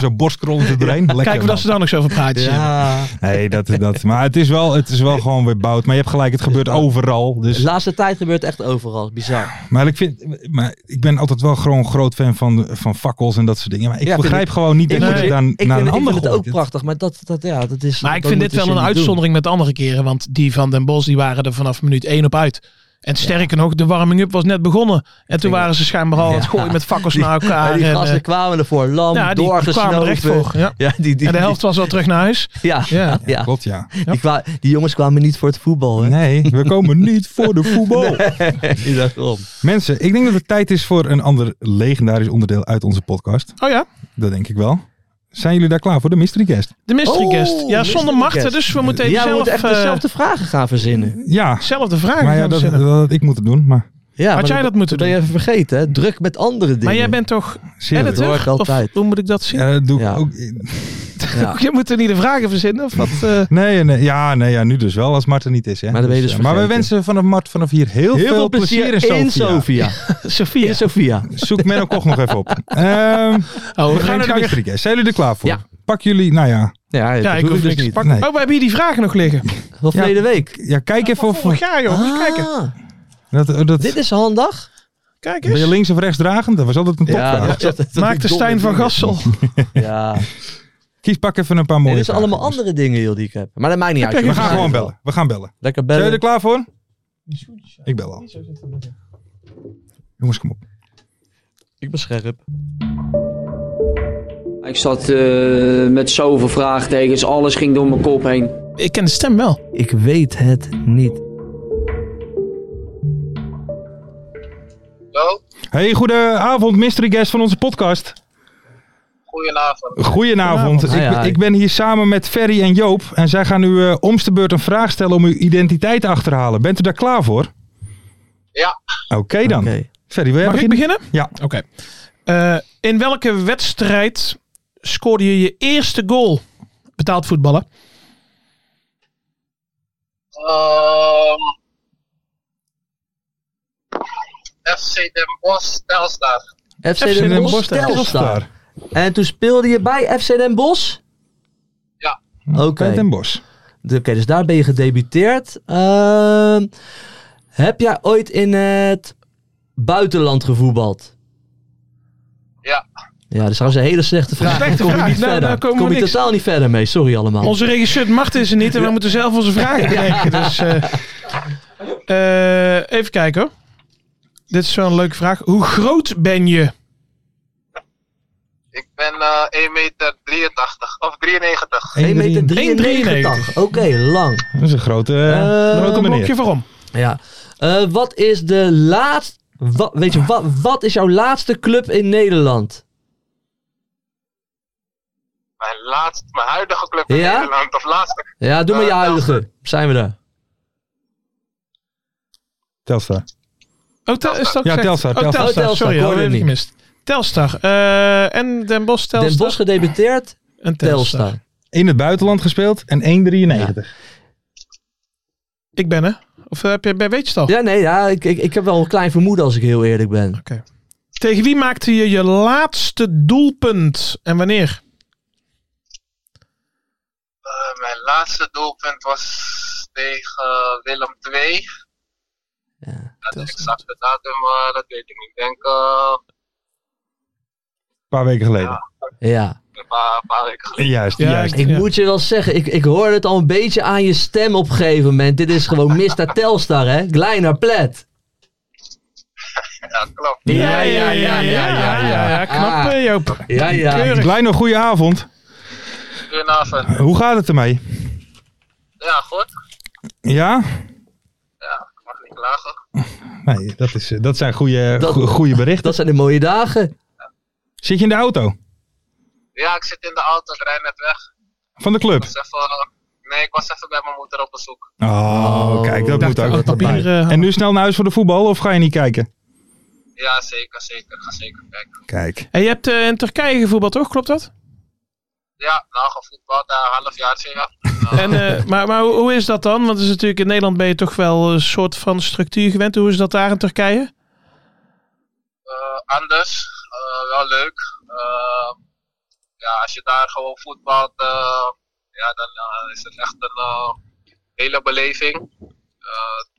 Speaker 4: Zo borstkrol in zijn brein. Lekker,
Speaker 6: Kijken we dat ze daar nog zo over praatjes hebben.
Speaker 5: Ja.
Speaker 4: Nee, dat, dat, maar het is, wel, het is wel gewoon weer bout. Maar je hebt gelijk, het gebeurt
Speaker 5: De
Speaker 4: overal. Dus,
Speaker 5: laatste tijd gebeurt echt overal. Bizar.
Speaker 4: maar, ik vind, maar ik ben altijd wel gewoon groot fan van, van fakkels en dat soort dingen. Maar ik
Speaker 5: Ja, vind
Speaker 4: begrijp
Speaker 5: ik-
Speaker 4: gewoon niet dat
Speaker 6: ik
Speaker 4: je
Speaker 6: vind-
Speaker 4: het dan
Speaker 5: Ik
Speaker 4: naar
Speaker 5: vind,
Speaker 4: een
Speaker 5: ik
Speaker 4: ander
Speaker 5: vind het ook
Speaker 4: gooit.
Speaker 5: prachtig, maar dat, dat, ja, dat is...
Speaker 6: Maar ik
Speaker 5: dat
Speaker 6: vind dit
Speaker 5: moeten
Speaker 6: wel
Speaker 5: ze
Speaker 6: een
Speaker 5: niet doen.
Speaker 6: uitzondering met andere keren. Want die van Den Bos die waren er vanaf minuut 1 op uit. En sterker nog, de warming-up was net begonnen. En toen
Speaker 5: Ja.
Speaker 6: waren ze schijnbaar al aan het
Speaker 5: Ja.
Speaker 6: gooien met fakkels naar
Speaker 5: Ja,
Speaker 6: elkaar.
Speaker 5: die
Speaker 6: en,
Speaker 5: gasten
Speaker 6: eh,
Speaker 5: kwamen ervoor. Lam,
Speaker 6: ja, die, die kwamen er echt
Speaker 5: doorgesnoven.
Speaker 6: voor. Ja.
Speaker 5: Ja, die, die,
Speaker 6: En de helft was al terug naar huis.
Speaker 5: die- ja,
Speaker 6: Ja.
Speaker 5: ja, ja.
Speaker 4: Klopt, ja.
Speaker 5: Die, kwa- die jongens kwamen niet voor het voetbal. Hè?
Speaker 4: Nee, we komen niet voor de voetbal.
Speaker 5: Nee. Daarom.
Speaker 4: Mensen, ik denk dat het tijd is voor een ander legendarisch onderdeel uit onze podcast.
Speaker 6: Oh ja,
Speaker 4: Dat denk ik wel. Zijn jullie daar klaar voor de mystery guest?
Speaker 6: de mystery
Speaker 5: Oh,
Speaker 6: guest. Ja, zonder
Speaker 5: mystery
Speaker 6: machten.
Speaker 5: guest.
Speaker 6: Dus we moeten even
Speaker 5: Ja, we
Speaker 6: zelf,
Speaker 5: moeten echt
Speaker 6: eh,
Speaker 5: dezelfde vragen gaan verzinnen.
Speaker 4: Ja,
Speaker 6: zelf de vragen
Speaker 4: maar ja,
Speaker 6: gaan
Speaker 4: dat,
Speaker 6: stellen.
Speaker 4: dat had ik moeten doen. Maar
Speaker 5: Ja, maar
Speaker 6: jij dat moeten
Speaker 5: ben je
Speaker 6: doen?
Speaker 5: even vergeten, hè? Druk met andere dingen.
Speaker 6: Maar jij bent toch
Speaker 4: serieus.
Speaker 6: editor?
Speaker 5: hoor ik
Speaker 6: Of
Speaker 5: altijd.
Speaker 6: hoe moet ik dat zien?
Speaker 4: Ja, dat doe ik
Speaker 5: Ja.
Speaker 4: ook.
Speaker 5: Ja.
Speaker 6: Je moet er niet de vragen verzinnen of wat? eh?
Speaker 5: Nou,
Speaker 4: Nee, nee, ja, nee ja, nu dus wel, als Mart er niet is. Hè.
Speaker 5: Maar dan ben je dus
Speaker 4: eh, maar we
Speaker 5: vergeten.
Speaker 4: wensen vanaf Mart vanaf hier heel,
Speaker 5: Heel veel plezier in Sofia. In Sofia.
Speaker 6: Sophia.
Speaker 4: Zoek Menno Koch nog even op. Ehm,
Speaker 6: Oh,
Speaker 4: we gaan naar de mystery guest. Zijn jullie er klaar voor?
Speaker 5: Ja.
Speaker 4: Pak jullie, nou ja,
Speaker 5: Ja, dat
Speaker 6: Ja,
Speaker 5: hoef
Speaker 6: ik
Speaker 5: ik
Speaker 6: hoef
Speaker 5: dus
Speaker 6: niks te
Speaker 5: niet.
Speaker 6: pakken.
Speaker 4: Nee.
Speaker 6: Oh, we hebben hier die vragen nog liggen.
Speaker 5: Van
Speaker 4: Ja.
Speaker 5: verleden week.
Speaker 4: ja, kijk even of...
Speaker 6: Vorig jaar, joh. Moet je kijken.
Speaker 5: Ah,
Speaker 4: Dat, dat,
Speaker 5: dit is handig.
Speaker 6: Kijk
Speaker 4: ben je
Speaker 6: eens.
Speaker 4: links of rechts dragend? Dat was altijd een topvraag.
Speaker 5: dat is altijd-
Speaker 6: Maakte Stijn van Gassel.
Speaker 5: Ja.
Speaker 4: Kies, pak even een paar mooie
Speaker 5: Nee, dit zijn
Speaker 4: vragen,
Speaker 5: allemaal
Speaker 4: jongens.
Speaker 5: andere dingen joh, die ik heb. Maar dat maakt niet uit.
Speaker 4: We
Speaker 5: joh.
Speaker 4: gaan
Speaker 5: Ja.
Speaker 4: gewoon bellen. We gaan bellen.
Speaker 5: Lekker
Speaker 4: Zijn
Speaker 5: bellen.
Speaker 4: jullie er klaar voor? Ik bel al. Jongens, kom op.
Speaker 5: Ik ben scherp.
Speaker 8: Ik zat eh, met zoveel vraagtekens, alles ging door mijn kop heen.
Speaker 6: Ik ken de stem wel.
Speaker 5: Ik weet het niet.
Speaker 7: Hallo,
Speaker 4: Hey, goedenavond, mystery guest van onze podcast.
Speaker 7: goedenavond.
Speaker 4: Goedenavond. Ik,
Speaker 5: Hi, hi.
Speaker 4: ik ben hier samen met Ferry en Joop. En zij gaan u eh, omste beurt een vraag stellen om uw identiteit te achterhalen. Bent u daar klaar voor?
Speaker 7: Ja.
Speaker 4: Oké dan.
Speaker 5: Oké.
Speaker 4: Ferry, wil jij
Speaker 6: Mag ik
Speaker 4: beginnen?
Speaker 6: beginnen?
Speaker 4: Ja.
Speaker 6: Oké. Eh, in welke wedstrijd scoorde je je eerste goal? Betaald voetballen.
Speaker 7: Ehm FC Den Bosch, Telstar.
Speaker 5: FC Den Bosch Telstar.
Speaker 4: Telstar.
Speaker 5: En toen speelde je bij FC Den Bosch?
Speaker 7: Ja.
Speaker 5: Oké.
Speaker 4: Bij Den Bosch.
Speaker 5: Oké, dus daar ben je gedebuteerd. Ehm, heb jij ooit in het buitenland gevoetbald?
Speaker 7: Ja.
Speaker 5: Ja, dat is trouwens een hele slechte vraag.
Speaker 6: Slechte
Speaker 5: Dan kom
Speaker 6: vraag.
Speaker 5: je niet
Speaker 6: Nou,
Speaker 5: verder.
Speaker 6: daar komen we
Speaker 5: kom je
Speaker 6: niks.
Speaker 5: totaal niet verder mee. Sorry allemaal.
Speaker 6: Onze regisseur Mart is er niet en we moeten zelf onze vragen bedenken. Dus, eh, eh, even kijken hoor. Dit is wel een leuke vraag. Hoe groot ben je?
Speaker 7: Ik ben eh 1 meter 83 of 93.
Speaker 5: 1,93 meter.
Speaker 6: 1,93.
Speaker 5: Oké, lang.
Speaker 4: Dat is een grote, eh,
Speaker 5: Eh,
Speaker 4: grote
Speaker 6: Een blokje
Speaker 4: meneer.
Speaker 6: waarom?
Speaker 5: Ja. Eh, wat is de laatste... Wat, weet je, wat, wat is jouw laatste club in Nederland?
Speaker 7: Mijn, laatste, mijn huidige club in
Speaker 5: Ja?
Speaker 7: Nederland, of laatste.
Speaker 5: Ja, doe maar je
Speaker 7: Eh,
Speaker 5: huidige. Zijn we daar.
Speaker 4: Telstar.
Speaker 6: Oh, tel, is dat
Speaker 4: Ja,
Speaker 6: gezegd?
Speaker 4: Telstar,
Speaker 6: Oh,
Speaker 4: Telstar.
Speaker 6: Telstar.
Speaker 5: Telstar,
Speaker 6: Sorry,
Speaker 5: ik
Speaker 6: dat
Speaker 5: hoorde
Speaker 6: heb ik
Speaker 5: het niet.
Speaker 6: gemist. Telstar. eh, en Den Bosch, Telstar.
Speaker 5: Den Bosch gedebuteerd.
Speaker 6: en Telstar.
Speaker 5: Telstar.
Speaker 4: In het buitenland gespeeld en 1,93.
Speaker 6: Ik ben er. Of eh, heb je, weet je het al?
Speaker 5: Ja, nee, ja, ik, ik, ik heb wel een klein vermoeden als ik heel eerlijk ben.
Speaker 6: Tegen wie maakte je je laatste doelpunt en wanneer?
Speaker 7: Eh, mijn laatste doelpunt was tegen Willem II. Ja, de exacte datum, eh, dat weet ik niet. Ik denk eh,
Speaker 4: Een paar weken geleden.
Speaker 5: Ja.
Speaker 7: een paar, een paar weken geleden.
Speaker 4: Juist,
Speaker 6: Ja,
Speaker 4: juist.
Speaker 5: Ik
Speaker 6: Ja.
Speaker 5: moet je wel zeggen, ik, ik hoorde het al een beetje aan je stem op een gegeven moment. Dit is gewoon Mr. Telstar, hè? Kleiner plet.
Speaker 7: Ja, klopt.
Speaker 5: Ja, ja, ja, ja, ja, ja.
Speaker 6: Knap, eh, Joop.
Speaker 5: Ah, Ja, ja.
Speaker 6: Keurig.
Speaker 4: Kleine goede avond.
Speaker 7: Goedenavond.
Speaker 4: Hoe gaat het ermee?
Speaker 7: Ja, goed.
Speaker 4: Ja?
Speaker 7: Ja, ik mag niet klagen.
Speaker 4: Nee, dat, is, eh, dat zijn goede,
Speaker 5: Dat-
Speaker 4: go- goede berichten.
Speaker 5: Dat zijn de mooie dagen.
Speaker 4: Zit je in de auto
Speaker 7: Ja, ik zit in de auto, ik rijd net weg.
Speaker 4: van de club?
Speaker 7: Ik was even, eh, nee, ik was even bij mijn moeder op bezoek.
Speaker 4: Oh, kijk, dat moet
Speaker 6: dacht
Speaker 4: ook
Speaker 6: ook
Speaker 4: wat
Speaker 6: papieren
Speaker 4: erbij.
Speaker 6: hangen.
Speaker 4: En nu snel naar huis voor de voetbal of ga je niet kijken?
Speaker 7: Ja, zeker, zeker. Ga zeker kijken.
Speaker 4: Kijk.
Speaker 6: En je hebt eh, in Turkije gevoetbald, toch? Klopt dat?
Speaker 7: Ja, nou, gevoetbald, een half jaar ja.
Speaker 6: En, eh, maar maar hoe, hoe is dat dan? Want het is natuurlijk, in Nederland ben je toch wel een soort van structuur gewend. Hoe is dat daar in Turkije?
Speaker 7: Eh, anders, eh, wel leuk. Eh, ja, als je daar gewoon voetbalt, eh, ja, dan eh, is het echt een eh, hele beleving. Eh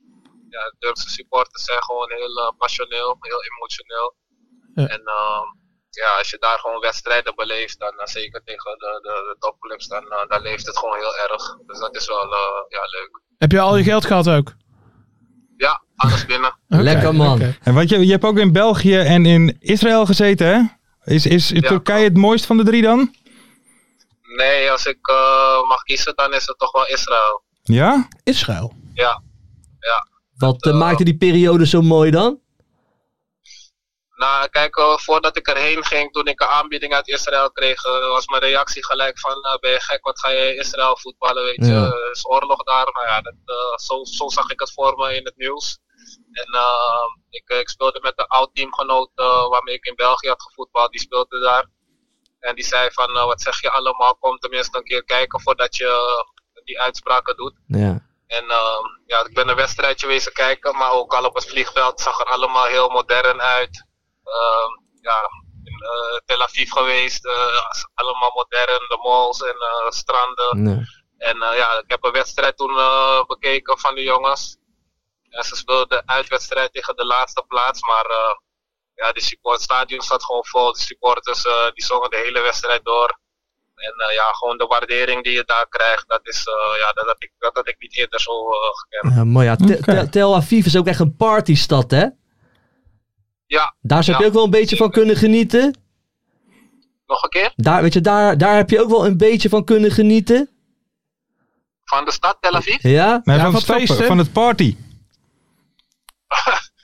Speaker 7: ja, Turkse supporters zijn gewoon heel eh, passioneel, heel emotioneel.
Speaker 6: Ja.
Speaker 7: En ehm, ja, als je daar gewoon wedstrijden beleeft, dan eh, zeker tegen de, de, de topclubs, dan, eh, dan leeft het gewoon heel erg. Dus dat is wel eh, ja, leuk.
Speaker 6: Heb je al je geld gehad ook?
Speaker 7: Ja, alles binnen.
Speaker 6: Oké,
Speaker 5: Lekker man.
Speaker 6: oké.
Speaker 4: En want je, je hebt ook in België en in Israël gezeten, hè? Is, is Turkije het mooist van de drie dan?
Speaker 7: Nee, als ik eh, mag kiezen, dan is het toch wel Israël.
Speaker 4: Ja?
Speaker 6: Israël.
Speaker 7: Ja,
Speaker 5: Wat eh, maakte die periode zo mooi dan?
Speaker 7: Nou, kijk, eh, voordat ik erheen ging, toen ik een aanbieding uit Israël kreeg, eh, was mijn reactie gelijk van, eh, ben je gek, wat ga je in Israël voetballen, weet je,
Speaker 5: Ja.
Speaker 7: Er is oorlog daar. Maar ja, dat, eh, zo, zo zag ik het voor me in het nieuws. En eh, ik, eh, ik speelde met een oud teamgenoot eh, waarmee ik in België had gevoetbald, die speelde daar. En die zei van, eh, wat zeg je allemaal, kom tenminste een keer kijken voordat je eh, die uitspraken doet.
Speaker 5: Ja.
Speaker 7: En ehm, ja, ik ben een wedstrijdje wezen kijken, maar ook al op het vliegveld zag er allemaal heel modern uit. Ehm, ja, in eh, Tel Aviv geweest, eh, allemaal modern, de malls en eh, stranden.
Speaker 5: Nee.
Speaker 7: En eh, ja, ik heb een wedstrijd toen eh, bekeken van de jongens. En ze speelden een uitwedstrijd tegen de laatste plaats, maar eh, ja, die support, het stadion zat gewoon vol. De supporters eh, die zongen de hele wedstrijd door. En eh, ja, gewoon de waardering die je daar krijgt, dat, is, eh, ja, dat, had ik, dat had ik niet eerder zo eh, gekend.
Speaker 5: Ja, mooi. Ja. Te- Te- Tel Aviv is ook echt een partystad, hè?
Speaker 7: Ja,
Speaker 5: Daar zou je
Speaker 7: Ja.
Speaker 5: ook wel een beetje van kunnen genieten.
Speaker 7: nog een keer.
Speaker 5: Daar, weet je, daar, daar heb je ook wel een beetje van kunnen genieten.
Speaker 7: Van de stad Tel Aviv?
Speaker 5: Ja?
Speaker 4: Nee, van,
Speaker 6: Ja, van
Speaker 4: het stappen,
Speaker 6: feesten.
Speaker 4: van het party.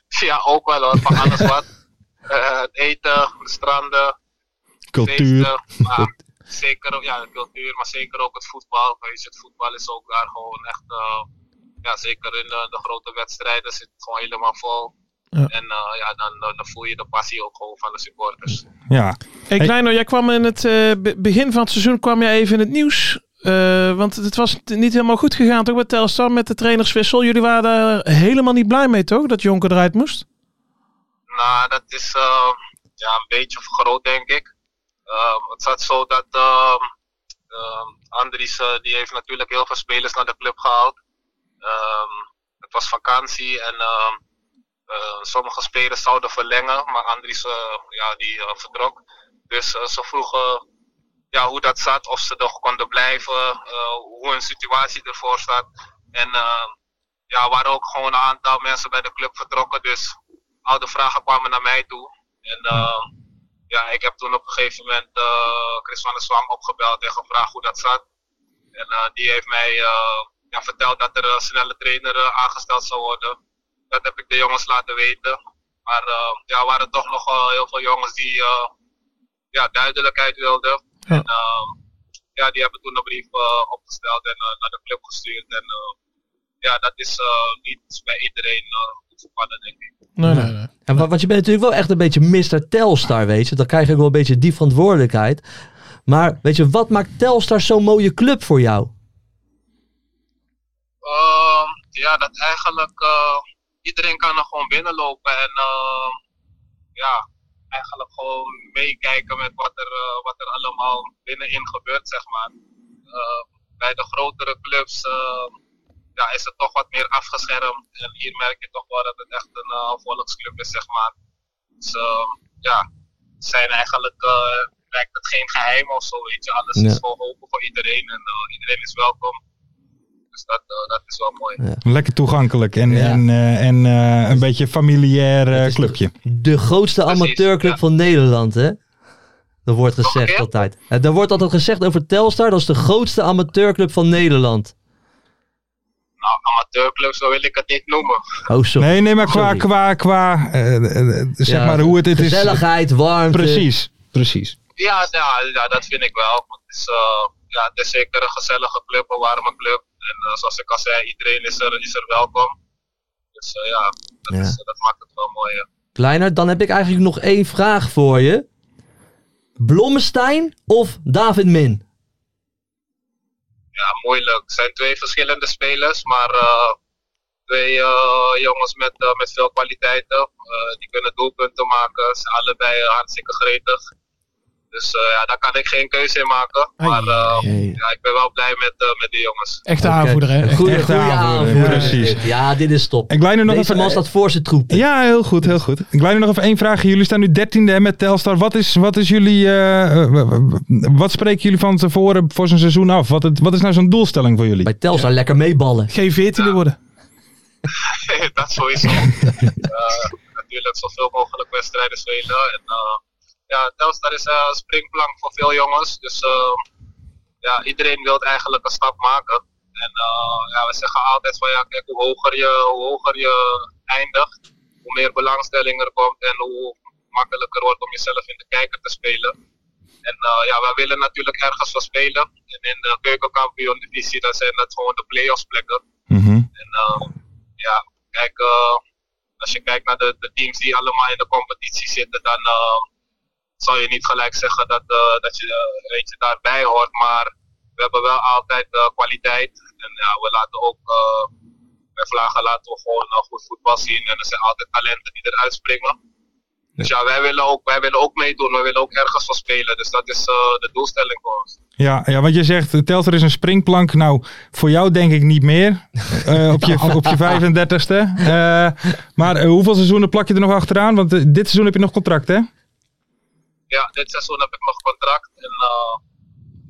Speaker 7: Ja, ook wel hoor, van alles wat. Eh, het eten, de stranden,
Speaker 4: Cultuur.
Speaker 7: feesten. Maar zeker, ja, de cultuur, maar zeker ook het voetbal. Weet je, het voetbal is ook daar gewoon echt... eh, ja, zeker in de, de grote wedstrijden zit het gewoon helemaal vol.
Speaker 6: Ja.
Speaker 7: En eh, ja, dan, dan, dan voel je de passie ook gewoon van de supporters.
Speaker 4: Ja. Hey.
Speaker 6: Hey, Kleino, jij kwam in het eh, be- begin van het seizoen kwam jij even in het nieuws. Eh, want het was t- niet helemaal goed gegaan toch met Telstar, met de trainerswissel. Jullie waren daar helemaal niet blij mee toch, dat Jonker eruit moest?
Speaker 7: Nou, dat is eh, ja, een beetje vergroot, denk ik. Ehm, het zat zo dat ehm, ehm, Andries eh, die heeft natuurlijk heel veel spelers naar de club gehaald. Ehm, het was vakantie en ehm, eh, sommige spelers zouden verlengen, maar Andries eh, ja, die, eh, vertrok. Dus eh, ze vroegen ja, hoe dat zat, of ze nog konden blijven, eh, hoe hun situatie ervoor staat. En eh, ja, er waren ook gewoon een aantal mensen bij de club vertrokken, dus al de vragen kwamen naar mij toe. En eh, ja, ik heb toen op een gegeven moment eh, Chris van der Zwam opgebeld en gevraagd hoe dat zat. En eh, die heeft mij eh, ja, verteld dat er een snelle trainer eh, aangesteld zou worden. Dat heb ik de jongens laten weten. Maar eh, ja, er waren toch nog eh, heel veel jongens die eh, ja, duidelijkheid wilden.
Speaker 6: Ja.
Speaker 7: En eh, ja, die hebben toen een brief eh, opgesteld en eh, naar de club gestuurd. En eh, ja, dat is eh, niet bij iedereen eh, goed gevallen, denk ik.
Speaker 6: Nee, nee, nee.
Speaker 5: En, wa- want je bent natuurlijk wel echt een beetje Mr. Telstar, weet je. Dan krijg je ook wel een beetje die verantwoordelijkheid. Maar weet je, wat maakt Telstar zo'n mooie club voor jou?
Speaker 7: Ehm, ja, dat eigenlijk eh, iedereen kan er gewoon binnenlopen en ehm, ja, eigenlijk gewoon meekijken met wat er, eh, wat er allemaal binnenin gebeurt, zeg maar. Eh, bij de grotere clubs ehm, ja, is het toch wat meer afgeschermd en hier merk je toch wel dat het echt een eh, volksclub is, zeg maar. Dus ehm, ja, het zijn eigenlijk, eh lijkt het geen geheim of zo, weet je. Alles
Speaker 5: Ja.
Speaker 7: is gewoon open voor iedereen en eh, iedereen is welkom. Dus dat, eh, dat is wel mooi.
Speaker 4: Lekker toegankelijk en,
Speaker 5: Ja.
Speaker 4: en, eh, en eh, een beetje familiair eh,
Speaker 5: Het is
Speaker 4: clubje.
Speaker 5: De grootste
Speaker 7: Precies,
Speaker 5: amateurclub
Speaker 7: ja.
Speaker 5: van Nederland, hè? Dat wordt
Speaker 7: een
Speaker 5: gezegd
Speaker 7: keer?
Speaker 5: altijd. Eh, Daar wordt altijd gezegd over Telstar, dat is de grootste amateurclub van Nederland.
Speaker 7: Nou, amateurclub, zo wil ik het niet noemen.
Speaker 5: Oh, sorry.
Speaker 4: Nee, nee, maar qua,
Speaker 5: Sorry.
Speaker 4: qua, qua eh, eh, eh, zeg
Speaker 5: Ja,
Speaker 4: maar hoe het, het is.
Speaker 5: Gezelligheid, eh, warmte.
Speaker 4: Precies, precies.
Speaker 7: Ja, ja, ja, dat vind ik wel. Het is, eh, ja, het is zeker een gezellige club, een warme club. En eh, zoals ik al zei, iedereen is er, is er welkom. Dus eh, ja, dat,
Speaker 5: Ja.
Speaker 7: Is, dat maakt het wel mooi. eh. ja.
Speaker 5: Kleiner, dan heb ik eigenlijk nog één vraag voor je. Blommestein of David Min?
Speaker 7: Ja, moeilijk. Het zijn twee verschillende spelers, maar eh, twee eh, jongens met, eh, met veel kwaliteiten. Eh, die kunnen doelpunten maken. Ze zijn allebei eh, hartstikke gretig. Dus eh, ja, daar kan ik geen keuze in maken. Maar eh,
Speaker 5: Hey.
Speaker 7: ja, ik ben wel blij met, eh, met die jongens.
Speaker 6: Echte
Speaker 5: Oké.
Speaker 6: aanvoerder, hè?
Speaker 5: Een goede,
Speaker 4: Echte
Speaker 5: goede
Speaker 4: aanvoerder,
Speaker 5: aanvoerder.
Speaker 4: ja,
Speaker 5: is
Speaker 4: precies.
Speaker 5: dit. Ja, dit is top.
Speaker 4: Ik blijf nu nog
Speaker 5: Deze
Speaker 4: even...
Speaker 5: man staat voor zijn troepen.
Speaker 4: Ja, heel goed, heel goed. Ik blijf nu nog even één vraagje. Jullie staan nu dertiende met Telstar. Wat is, wat is jullie... eh, eh, w- w- w- wat spreken jullie van tevoren voor zo'n seizoen af? Wat, het, wat is nou zo'n doelstelling voor jullie?
Speaker 5: Bij Telstar lekker meeballen.
Speaker 6: Geen veertiende worden.
Speaker 7: dat sowieso. Eh, natuurlijk zoveel mogelijk wedstrijden spelen. En, eh, ja, Telstar is eh, een springplank voor veel jongens. Dus eh, ja, iedereen wil eigenlijk een stap maken. En eh, ja, we zeggen altijd van ja, kijk, hoe hoger je, hoe hoger je eindigt, hoe meer belangstelling er komt en hoe makkelijker wordt om jezelf in de kijker te spelen. En eh, ja, we willen natuurlijk ergens voor spelen. En in de keukenkampioen divisie, dan zijn dat gewoon de play-offs plekken.
Speaker 4: Mhm.
Speaker 7: En eh, ja, kijk, eh, als je kijkt naar de, de teams die allemaal in de competitie zitten, dan eh, zal je niet gelijk zeggen dat, eh, dat je eh, eentje daarbij hoort. Maar we hebben wel altijd eh, kwaliteit. En ja, we laten ook, eh, bij Vlagen laten we gewoon eh, goed voetbal zien. En er zijn altijd talenten die eruit springen. Dus ja, wij willen, ook, wij willen ook meedoen. We willen ook ergens van spelen. Dus dat is eh, de doelstelling voor ons.
Speaker 4: Ja, ja, want je zegt, eh, Telstar is een springplank. Nou, voor jou denk ik niet meer. Eh, op, je, op je 35ste. Eh, maar eh, hoeveel seizoenen plak je er nog achteraan? Want eh, dit seizoen heb je nog contract, hè?
Speaker 7: Ja, dit seizoen heb ik nog contract. En eh,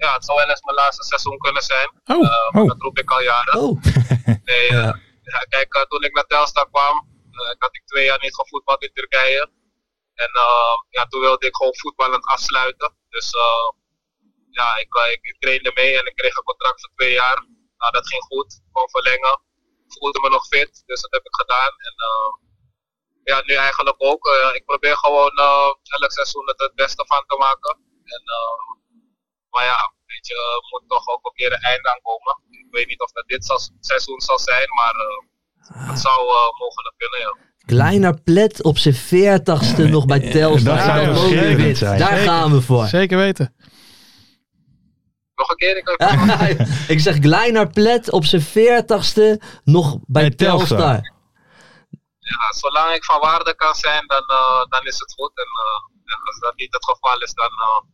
Speaker 7: ja, het zou wel eens mijn laatste seizoen kunnen zijn.
Speaker 6: Oh,
Speaker 7: Eh,
Speaker 4: Oh.
Speaker 7: Dat roep ik al jaren.
Speaker 5: Oh,
Speaker 7: Nee, eh, ja, kijk, eh, toen ik naar Telstar kwam, eh, had ik twee jaar niet gevoetbald in Turkije. En eh, ja, toen wilde ik gewoon voetballend afsluiten. Dus eh, ja, ik, eh, ik trainde mee en ik kreeg een contract voor twee jaar. Nou, dat ging goed. Ik kon verlengen. Ik voelde me nog fit, dus dat heb ik gedaan. En eh, ja, nu eigenlijk ook. Eh, ik probeer gewoon eh, elk seizoen het, het beste van te maken. En, eh, maar ja, weet je, er moet toch ook een keer een einde aan komen. Ik weet niet of dat dit seizoen- seizoen zal zijn, maar eh, het zou eh, mogelijk kunnen, ja.
Speaker 5: kleiner plet op zijn 40ste nog bij Telstar.
Speaker 4: dat zou
Speaker 5: Ja,
Speaker 4: schitterend
Speaker 5: mooie wit.
Speaker 4: zijn.
Speaker 5: Daar
Speaker 6: Zeker.
Speaker 5: gaan we voor.
Speaker 6: Zeker weten.
Speaker 7: Nog een keer, ik heb
Speaker 5: ik zeg Kleiner Plet op zijn 40ste nog bij
Speaker 4: Bij Telstar.
Speaker 5: Telstar.
Speaker 7: Ja, zolang ik van waarde kan zijn, dan, eh, dan is het goed. En eh, als dat niet het geval is, dan, eh,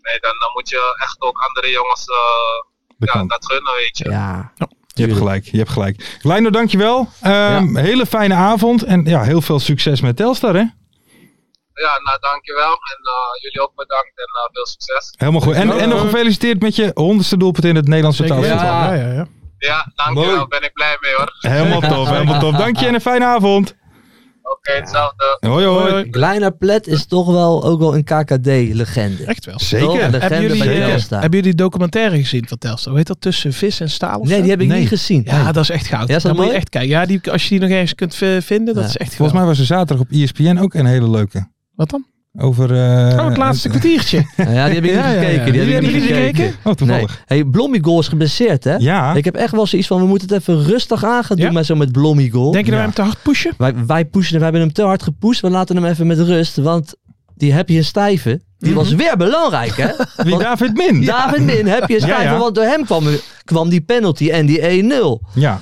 Speaker 7: nee, dan, eh, moet je echt ook andere jongens eh,
Speaker 4: De
Speaker 7: ja,
Speaker 4: kant.
Speaker 7: dat gunnen, weet je.
Speaker 5: Ja.
Speaker 4: Je hebt gelijk, je hebt gelijk. Leino, dankjewel. Ehm Hele fijne avond en ja, heel veel succes met Telstar, hè?
Speaker 7: Ja, nou dankjewel. En eh, jullie ook bedankt en eh, veel succes.
Speaker 4: Helemaal goed. En, en nog gefeliciteerd met je honderdste doelpunt in het Nederlandse
Speaker 6: Zeker weten.
Speaker 4: betaalvoetbal.
Speaker 6: Ja, ja, ja.
Speaker 7: Ja, dankjewel.
Speaker 4: Mooi.
Speaker 7: Ben ik blij mee hoor.
Speaker 4: Helemaal tof, helemaal tof. Dank je en een fijne avond.
Speaker 7: Oké, hetzelfde.
Speaker 4: Hoi, hoi.
Speaker 6: Hoi.
Speaker 5: Kleiner Plet is toch wel ook wel een KKD-legende.
Speaker 6: Echt wel.
Speaker 4: Zeker.
Speaker 5: Wel een
Speaker 6: Hebben
Speaker 5: legende
Speaker 6: jullie,
Speaker 5: bij
Speaker 6: eh,
Speaker 5: Telstar.
Speaker 6: hebben jullie die documentaire gezien van Telstar? Weet dat tussen vis en staal? of
Speaker 5: Nee,
Speaker 6: zo?
Speaker 5: die heb ik niet gezien.
Speaker 6: Ja, dat is echt goud.
Speaker 5: Ja, is dat
Speaker 6: Dan moet je
Speaker 5: mooi?
Speaker 6: echt kijken. Ja, die, als je die nog eens kunt eh, vinden, dat
Speaker 5: Ja.
Speaker 6: is echt goud.
Speaker 4: Volgens mij was er zaterdag op E ESPN ook een hele leuke.
Speaker 6: Wat dan?
Speaker 4: Over... eh,
Speaker 6: Oh, het laatste kwartiertje.
Speaker 5: Ja, die heb ik
Speaker 6: Ja,
Speaker 5: niet
Speaker 6: ja, ja.
Speaker 5: gekeken. Die heb ik
Speaker 6: Jullie
Speaker 5: niet
Speaker 6: hebben niet
Speaker 5: gekeken.
Speaker 4: Oh,
Speaker 5: Nee.
Speaker 4: toevallig.
Speaker 5: Hey, Blommigol is geblesseerd, hè?
Speaker 4: Ja.
Speaker 5: Ik heb echt wel zoiets van, we moeten het even rustig aan gaan doen
Speaker 6: Ja.
Speaker 5: met zo met Blommigol.
Speaker 6: Denk je dat wij
Speaker 4: Ja.
Speaker 6: hem te hard pushen?
Speaker 5: Wij, wij pushen hem, wij hebben hem te hard gepusht. We laten hem even met rust, want die heb je een stijve. Die
Speaker 4: Mhm.
Speaker 5: was weer belangrijk, hè?
Speaker 4: Wie
Speaker 5: Want-
Speaker 4: David Min?
Speaker 5: David Min heb je een stijve,
Speaker 4: Ja, ja.
Speaker 5: want door hem kwam, kwam die penalty en die 1-0.
Speaker 4: Ja,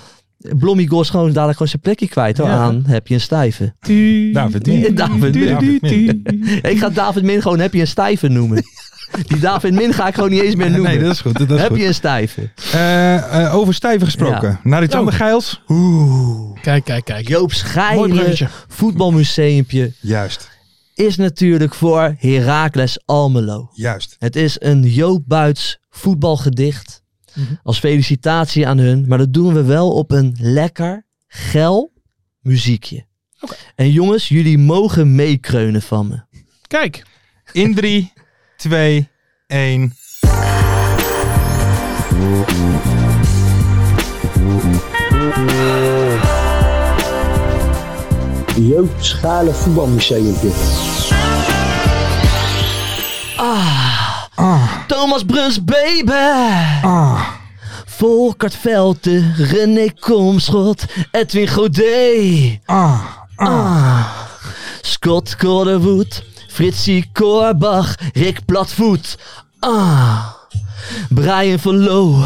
Speaker 5: Blommigol is gewoon dadelijk gewoon zijn plekje kwijt hoor,
Speaker 4: Ja.
Speaker 5: aan heb je een stijve. Nou.
Speaker 4: David Min.
Speaker 5: David
Speaker 4: Min. David Min.
Speaker 5: Ik ga David Min gewoon heb je een stijve noemen. Die David Min ga ik gewoon niet eens meer noemen.
Speaker 4: Nee, dat is goed. Dat is
Speaker 5: heb
Speaker 4: goed.
Speaker 5: je een stijve.
Speaker 4: Eh, eh, over stijven gesproken.
Speaker 5: Ja. Oh.
Speaker 4: Naar iets anders geils.
Speaker 5: Oeh.
Speaker 6: Kijk, kijk, kijk.
Speaker 5: Joop
Speaker 6: Mooi
Speaker 5: Schijnen,
Speaker 6: bruggetje.
Speaker 5: voetbalmuseumpje,
Speaker 4: Juist,
Speaker 5: is natuurlijk voor Heracles Almelo.
Speaker 4: juist.
Speaker 5: Het is een Joop Buits voetbalgedicht. Als felicitatie aan hun. Maar dat doen we wel op een lekker, gel muziekje. En jongens, jullie mogen meekreunen van me.
Speaker 6: Kijk.
Speaker 4: In 3, 2, 1.
Speaker 9: Joop Schalen Voetbalmuseumpje.
Speaker 5: Thomas Bruns, baby!
Speaker 4: Ah,
Speaker 5: Volkert Velte, René Komschot, Edwin Godet.
Speaker 4: ah.
Speaker 5: Scott Corderwood, Fritsie Korbach, Rick Platvoet. Ah. Brian van Loo,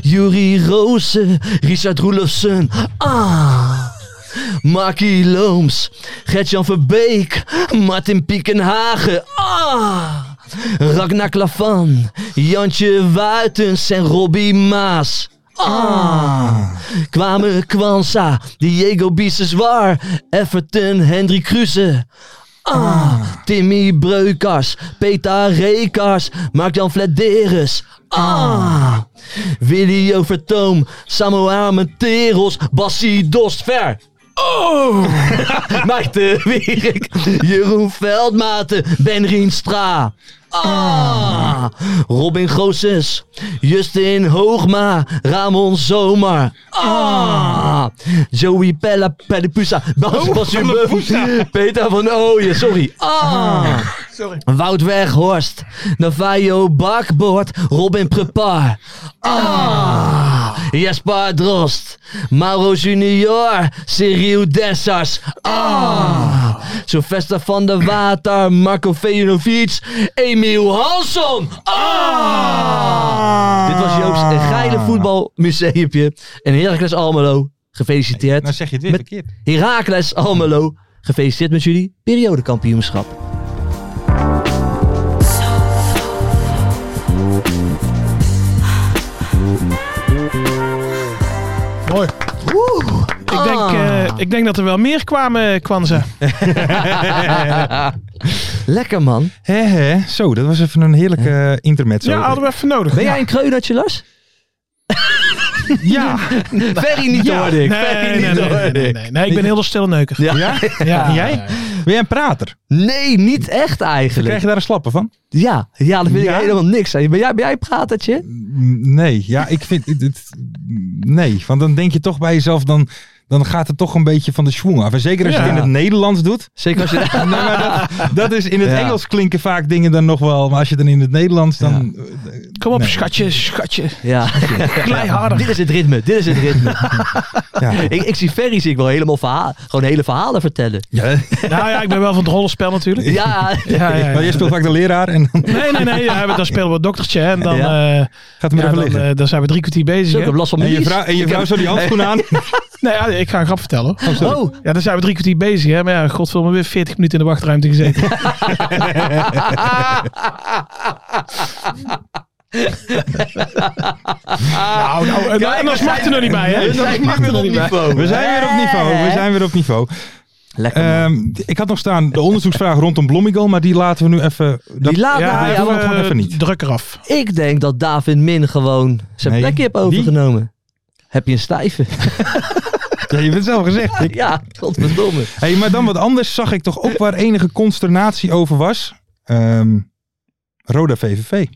Speaker 5: Jurie Rozen, Richard Roelofsen. Ah. Markie Looms, Gert-Jan Verbeek, Martin Piekenhagen. Ah. Ragnar Klavan, Jantje Wuitens en Robbie Maas. Ah. Kwamen Kwanza, Diego Biseswar, Everton, Henry Kruse. Ah. Timmy Breukers, Peter Rekers, Mark-Jan Flederis. Ah. Willy Overtoom, Samuel Armenteros, Bassi Dostver. Oh! Mike de Wierik, Jeroen Veldmaten, Ben Rienstra. Ah! Robin Goossens, Justin Hoogma, Ramon Zomer. Ah! Joey Pella Pellipusa, Bas Basumbeuf, Peter van Ooyen, sorry. Ah!
Speaker 6: Sorry.
Speaker 5: Wout Weghorst, Navajo Bakboord, Robin Prepar. Ah! Jesper Drost, Mauro Junior, Cyril Dessers. Ah! Sylvester van der Water, Marco Vejanovic, Emiel Hansson. Ah! Dit was Joop's geile
Speaker 4: Ah.
Speaker 5: voetbalmuseumpje. En Heracles Almelo, gefeliciteerd.
Speaker 4: Nou zeg je het weer
Speaker 5: Met
Speaker 4: verkeerd.
Speaker 5: Heracles Almelo, gefeliciteerd met jullie periodekampioenschap.
Speaker 6: Mooi. Ik denk,
Speaker 5: Ah.
Speaker 6: eh, ik denk dat er wel meer kwamen, eh, Kwanza.
Speaker 5: Lekker man.
Speaker 4: Hè, hè. Zo, dat was even een heerlijke eh, intermezzo.
Speaker 6: Ja, hadden we even nodig.
Speaker 5: Ben jij een kreunertje, Lars?
Speaker 4: Ja.
Speaker 5: Ferry niet
Speaker 6: Ja,
Speaker 5: hoorde
Speaker 6: nee,
Speaker 5: ik.
Speaker 6: nee,
Speaker 5: Ferry niet
Speaker 6: nee,
Speaker 5: hoorde
Speaker 6: nee,
Speaker 5: ik.
Speaker 6: nee, nee. Nee, ik ben heel stil neuker.
Speaker 5: Ja.
Speaker 4: Ja?
Speaker 6: Ja,
Speaker 4: En jij? Ben jij een prater?
Speaker 5: Nee, niet echt
Speaker 4: Krijg
Speaker 5: eigenlijk.
Speaker 4: je daar een slappe van?
Speaker 5: Ja, ja dat vind
Speaker 4: Ja?
Speaker 5: ik helemaal niks. aan. Ben jij, ben jij een pratertje?
Speaker 4: Mm, Nee, ja, ik vind het- het. Nee, want dan denk je toch bij jezelf, dan, dan gaat het toch een beetje van de schwung af. En zeker als je het
Speaker 5: Ja.
Speaker 4: in het Nederlands doet.
Speaker 5: Zeker als je...
Speaker 4: nee, maar dat, dat is in het
Speaker 5: Ja.
Speaker 4: Engels klinken vaak dingen dan nog wel, maar als je dan in het Nederlands dan.
Speaker 6: Kom op,
Speaker 4: Nee.
Speaker 6: schatje, schatje.
Speaker 5: Ja.
Speaker 6: Kleiharder.
Speaker 5: Dit is het ritme, dit is het ritme.
Speaker 4: eh, Ja.
Speaker 5: ik, ik zie Ferry zie ik wel helemaal verhaal, gewoon hele verhalen vertellen.
Speaker 4: Ja.
Speaker 6: Nou ja, ik ben wel van het rollenspel natuurlijk.
Speaker 5: Ja,
Speaker 6: Ja, ja, ja.
Speaker 4: Maar jij speelt vaak de leraar en dan
Speaker 6: Nee, nee, nee. Ja, we- dan spelen we het doktertje. hè, En dan,
Speaker 5: Ja.
Speaker 6: eh,
Speaker 4: gaat het
Speaker 6: ja,
Speaker 4: er even
Speaker 6: dan,
Speaker 4: liggen.
Speaker 6: eh, dan zijn we drie kwartier
Speaker 5: zo, ik
Speaker 6: bezig.
Speaker 5: heb
Speaker 6: hè.
Speaker 5: last van
Speaker 4: En
Speaker 5: mijn
Speaker 4: je
Speaker 5: lies.
Speaker 4: vrouw, en je vrouw zo die handschoen aan.
Speaker 6: Nee, ja, ik ga een grap vertellen. hoor.
Speaker 5: Oh,
Speaker 6: Ja, dan zijn we drie kwartier bezig. Hè. Maar ja, godverdomme, weer 40 minuten in de wachtruimte gezeten. nou, nou. En, en dan smaakt er nog niet bij, hè?
Speaker 5: we zijn weer op niveau.
Speaker 4: We zijn weer op niveau. We zijn weer op niveau.
Speaker 5: Lekker man.
Speaker 4: Ehm, ik had nog staan de onderzoeksvraag rondom Blommigel, maar die laten we nu even. dat-
Speaker 5: Die laat
Speaker 6: Ja,
Speaker 5: nou,
Speaker 6: ja,
Speaker 5: ja,
Speaker 4: doen we
Speaker 5: want
Speaker 4: het gewoon even niet.
Speaker 6: Eh, Druk eraf.
Speaker 5: ik denk dat David Min gewoon zijn
Speaker 4: Nee.
Speaker 5: plekje heeft
Speaker 4: Wie?
Speaker 5: overgenomen. Heb je een stijve?
Speaker 4: Ja, je hebt het zelf gezegd. Ik-
Speaker 5: ja, godverdomme.
Speaker 4: Hey, maar dan wat anders zag ik toch ook waar enige consternatie over was. Ehm, Roda VVV.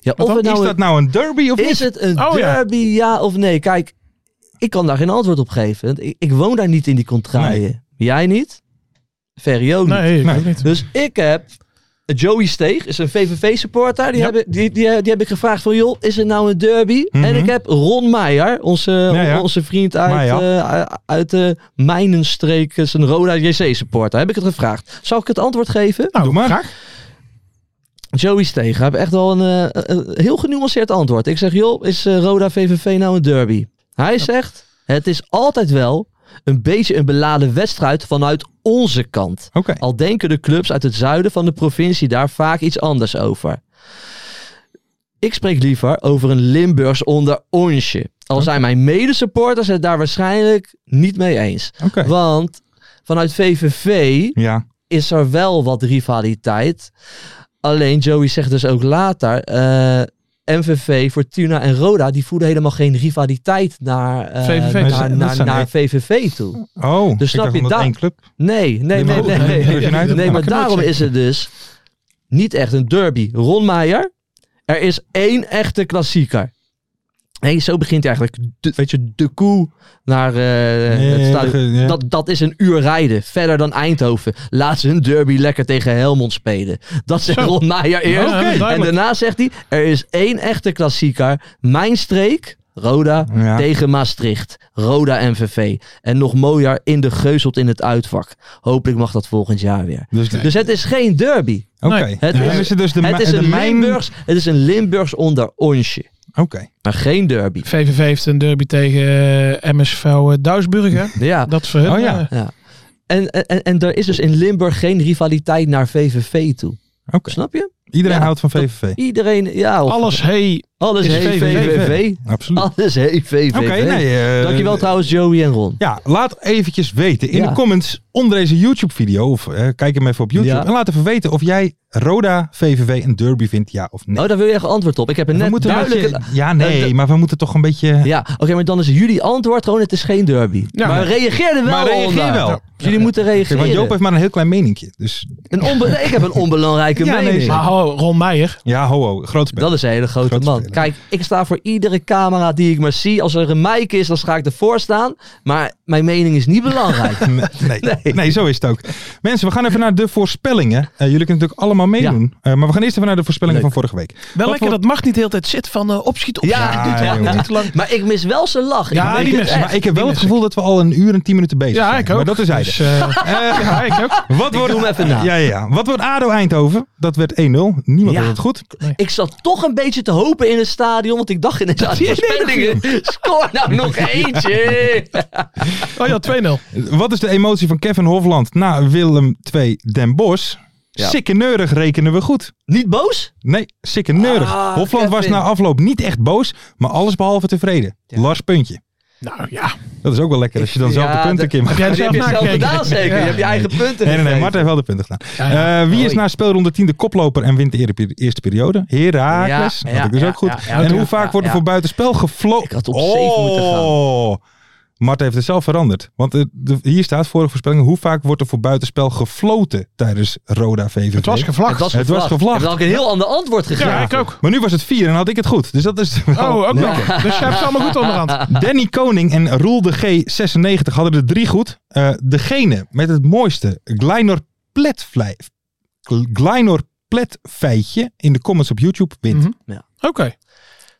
Speaker 5: Ja, of
Speaker 4: Want
Speaker 5: het nou
Speaker 4: is
Speaker 5: een-
Speaker 4: dat nou een derby of
Speaker 5: Is
Speaker 4: niet?
Speaker 5: het een
Speaker 6: Oh, ja.
Speaker 5: derby, ja. of nee? Kijk, ik kan daar geen antwoord op geven. Want ik, ik woon daar niet in die contraien. Jij niet? Ferry ook niet.
Speaker 6: Nee, ik
Speaker 4: Nee.
Speaker 6: ook niet.
Speaker 5: Dus ik heb... Joey Steeg is een VVV-supporter. Die,
Speaker 6: Ja.
Speaker 5: heb ik- die, die, die heb ik gevraagd van, joh, is het nou een derby?
Speaker 4: Mhm.
Speaker 5: En ik heb Ron Meijer, onze,
Speaker 4: ja.
Speaker 5: onze vriend uit,
Speaker 4: Meijer.
Speaker 5: eh, uit de Mijnenstreek, is een Roda JC-supporter. Heb ik het gevraagd. Zal ik het antwoord geven?
Speaker 4: Doe maar.
Speaker 5: Joey Steeg, heb echt wel een, eh, een heel genuanceerd antwoord. Ik zeg, joh, is eh, Roda VVV nou een derby? Hij zegt, het is altijd wel een beetje een beladen wedstrijd vanuit onze kant.
Speaker 4: Oké.
Speaker 5: Al denken de clubs uit het zuiden van de provincie daar vaak iets anders over. Ik spreek liever over een Limburgs onder onsje. Al zijn mijn medesupporters het daar waarschijnlijk niet mee eens.
Speaker 4: Oké.
Speaker 5: Want vanuit VVV
Speaker 4: Ja.
Speaker 5: is er wel wat rivaliteit. Alleen Joey zegt dus ook later. eh, MVV, Fortuna en Roda, die voelen helemaal geen rivaliteit naar, eh,
Speaker 6: VVV.
Speaker 5: naar,
Speaker 4: Dat zijn- dat
Speaker 5: naar,
Speaker 4: zijn-
Speaker 5: naar VVV toe.
Speaker 4: Oh,
Speaker 5: Dus
Speaker 4: ik
Speaker 5: snap
Speaker 4: dacht
Speaker 5: je
Speaker 4: omdat
Speaker 5: dat?
Speaker 4: één club.
Speaker 5: Nee, nee, nee,
Speaker 4: maar
Speaker 5: nee.
Speaker 4: goed,
Speaker 5: nee,
Speaker 4: Manchester United,
Speaker 5: Nee,
Speaker 4: dat
Speaker 5: maar
Speaker 4: kan
Speaker 5: daarom
Speaker 4: ook
Speaker 5: is het dus niet echt een derby. Ron Meijer, er is één echte klassieker. Nee, zo begint eigenlijk, de, weet je, de koe naar eh, het
Speaker 4: Nee,
Speaker 5: stadion.
Speaker 4: dat- eh, ja.
Speaker 5: Dat, dat is een uur rijden, verder dan Eindhoven. Laat ze hun derby lekker tegen Helmond spelen. Dat zegt
Speaker 6: Zo.
Speaker 5: Ron Meijer eerst.
Speaker 6: Ja, duidelijk.
Speaker 5: en daarna zegt hij, er is één echte klassieker. Mijn streek, Roda,
Speaker 4: Ja.
Speaker 5: tegen Maastricht. Roda MVV. En nog mooier, in de geuzelt in het uitvak. Hopelijk mag dat volgend jaar weer.
Speaker 4: Dus,
Speaker 5: Dus het is geen derby.
Speaker 4: Oké.
Speaker 6: Nee.
Speaker 5: Het
Speaker 4: Dan
Speaker 5: is-
Speaker 4: is het dus de,
Speaker 5: het,
Speaker 4: mi-
Speaker 5: is
Speaker 4: de
Speaker 5: een
Speaker 4: mijn-
Speaker 5: Limburgs, het is een Limburgs onder onsje.
Speaker 4: Oké.
Speaker 5: Maar geen derby.
Speaker 6: VVV heeft een derby tegen eh, MSV eh, Duisburg, hè?
Speaker 5: Ja.
Speaker 6: Dat is voor hun.
Speaker 4: Oh ja.
Speaker 6: eh,
Speaker 5: En, en, en er is dus in Limburg geen rivaliteit naar VVV toe.
Speaker 4: Oké.
Speaker 5: Snap je?
Speaker 4: Iedereen
Speaker 5: Ja,
Speaker 4: houdt van VVV.
Speaker 5: Iedereen, ja. of-
Speaker 6: Alles hey.
Speaker 5: Alles
Speaker 6: is
Speaker 5: hey,
Speaker 6: VVV.
Speaker 5: VVV.
Speaker 4: Absoluut.
Speaker 5: Alles hey, VVV.
Speaker 4: Oké, nee, eh,
Speaker 5: Dankjewel trouwens Joey en Ron.
Speaker 4: Ja, laat eventjes weten in
Speaker 5: Ja.
Speaker 4: de comments onder deze YouTube-video. Of eh, kijk hem even op YouTube.
Speaker 5: Ja.
Speaker 4: En laat even weten of jij Roda, VVV een derby vindt, ja of nee.
Speaker 5: Oh, daar wil je echt antwoord op. Ik heb een
Speaker 4: we
Speaker 5: net
Speaker 4: moeten een
Speaker 5: duidelijk...
Speaker 4: beetje- ja, nee,
Speaker 5: eh, de-
Speaker 4: maar we moeten toch een beetje...
Speaker 5: Ja, oké, maar dan is jullie antwoord gewoon het is geen derby.
Speaker 6: Ja.
Speaker 5: maar reageer er wel
Speaker 4: maar reageer
Speaker 5: onder.
Speaker 4: wel.
Speaker 5: Dus Jullie moeten
Speaker 4: Kijk,
Speaker 5: reageren.
Speaker 4: Want Joop heeft maar een heel klein meninkje. Dus
Speaker 5: Een onbe- nee, ik heb een onbelangrijke
Speaker 4: Ja, nee,
Speaker 5: mening.
Speaker 6: Maar ho, Ron Meijer.
Speaker 4: ja, ho, ho groot spel.
Speaker 5: dat is een hele grote
Speaker 4: Grote
Speaker 5: man.
Speaker 4: speler.
Speaker 5: Kijk, ik sta voor iedere camera die ik maar zie. Als er een mic is, dan ga ik ervoor staan. Maar mijn mening is niet belangrijk.
Speaker 4: Nee, nee. nee, zo is het ook. Mensen, we gaan even naar de voorspellingen. Eh, jullie kunnen natuurlijk allemaal meedoen. Eh, maar we gaan eerst even naar de voorspellingen
Speaker 5: Leuk.
Speaker 4: van vorige week.
Speaker 6: Wel
Speaker 4: Wat
Speaker 6: lekker,
Speaker 4: voor-
Speaker 6: dat mag niet de hele tijd zitten van eh, opschiet, opschiet.
Speaker 5: Ja,
Speaker 6: niet te lang,
Speaker 4: jongen.
Speaker 6: niet te lang.
Speaker 5: maar ik mis wel zijn lach. Ik
Speaker 6: Ja,
Speaker 5: weet
Speaker 6: die
Speaker 5: het
Speaker 6: mis-
Speaker 5: echt.
Speaker 4: Maar ik heb wel het
Speaker 6: mis
Speaker 4: gevoel dat we al een uur en tien minuten bezig zijn.
Speaker 6: Ja, ik ook.
Speaker 4: Maar dat is hij.
Speaker 6: Dus, eh, ja, ik ook.
Speaker 4: Wat wordt,
Speaker 5: doe hem even na.
Speaker 4: Ja, ja, ja. Wat wordt ADO Eindhoven? Dat werd 1-0. Niemand
Speaker 5: Ja.
Speaker 4: had het goed.
Speaker 5: Ik zat toch een beetje te hopen in het stadion, want ik dacht in het voorspellingen, score nou nog eentje.
Speaker 6: Oh ja, 2-0.
Speaker 4: Wat is de emotie van Kevin Hofland na Willem 2 Den Bosch?
Speaker 5: Ja.
Speaker 4: Sikke neurig rekenen we goed.
Speaker 5: Niet boos?
Speaker 4: Nee, sikke neurig.
Speaker 5: Ah,
Speaker 4: Hofland was
Speaker 5: Kevin.
Speaker 4: na afloop niet echt boos, maar alles behalve tevreden. Lars puntje.
Speaker 6: Nou ja.
Speaker 4: Dat is ook wel lekker als je dan
Speaker 5: Ja,
Speaker 4: zelf de punten
Speaker 5: dat-
Speaker 4: Kim.
Speaker 6: Heb jij het
Speaker 5: Dat heb
Speaker 6: zelf
Speaker 5: je zelf
Speaker 6: nagekeken?
Speaker 5: gedaan zeker? Je hebt je eigen punten
Speaker 4: Nee, nee, nee.
Speaker 5: gegeven.
Speaker 4: Marten heeft wel de punten gedaan.
Speaker 6: ja.
Speaker 4: Eh, wie is
Speaker 5: Hoi.
Speaker 4: na speelronde 10 de koploper en wint de eer- eerste periode? Herakles.
Speaker 5: Ja,
Speaker 4: dat
Speaker 5: ja,
Speaker 4: had ik dus
Speaker 5: ja,
Speaker 4: ook goed.
Speaker 5: ja, ja,
Speaker 4: en
Speaker 5: ja,
Speaker 4: hoe
Speaker 5: ja,
Speaker 4: vaak
Speaker 5: ja,
Speaker 4: wordt
Speaker 5: ja.
Speaker 4: er voor buitenspel gefloten?
Speaker 5: Ik had op zeven moeten gaan.
Speaker 4: Marten heeft het zelf veranderd. Want eh, de- hier staat vorige voorspelling. Hoe vaak wordt er voor buitenspel gefloten tijdens Roda VVV?
Speaker 6: Het was gevlakt.
Speaker 5: Het was
Speaker 4: Het
Speaker 5: gevlacht.
Speaker 4: was gevlacht.
Speaker 5: Ik heb ook een heel ander antwoord gegeven.
Speaker 6: ja, ik ook.
Speaker 4: Maar nu was het 4 en dan had ik het goed. Dus dat is wel-
Speaker 6: Oh, ook nog. Dus jij hebt het allemaal goed onderhand.
Speaker 4: Danny Koning en Roel de G96 hadden er drie goed. Eh, degene met het mooiste Glynor Pletvlei- Glynor Pletfeitje in de comments op YouTube wint.
Speaker 6: Mhm.
Speaker 5: Ja.
Speaker 6: Oké.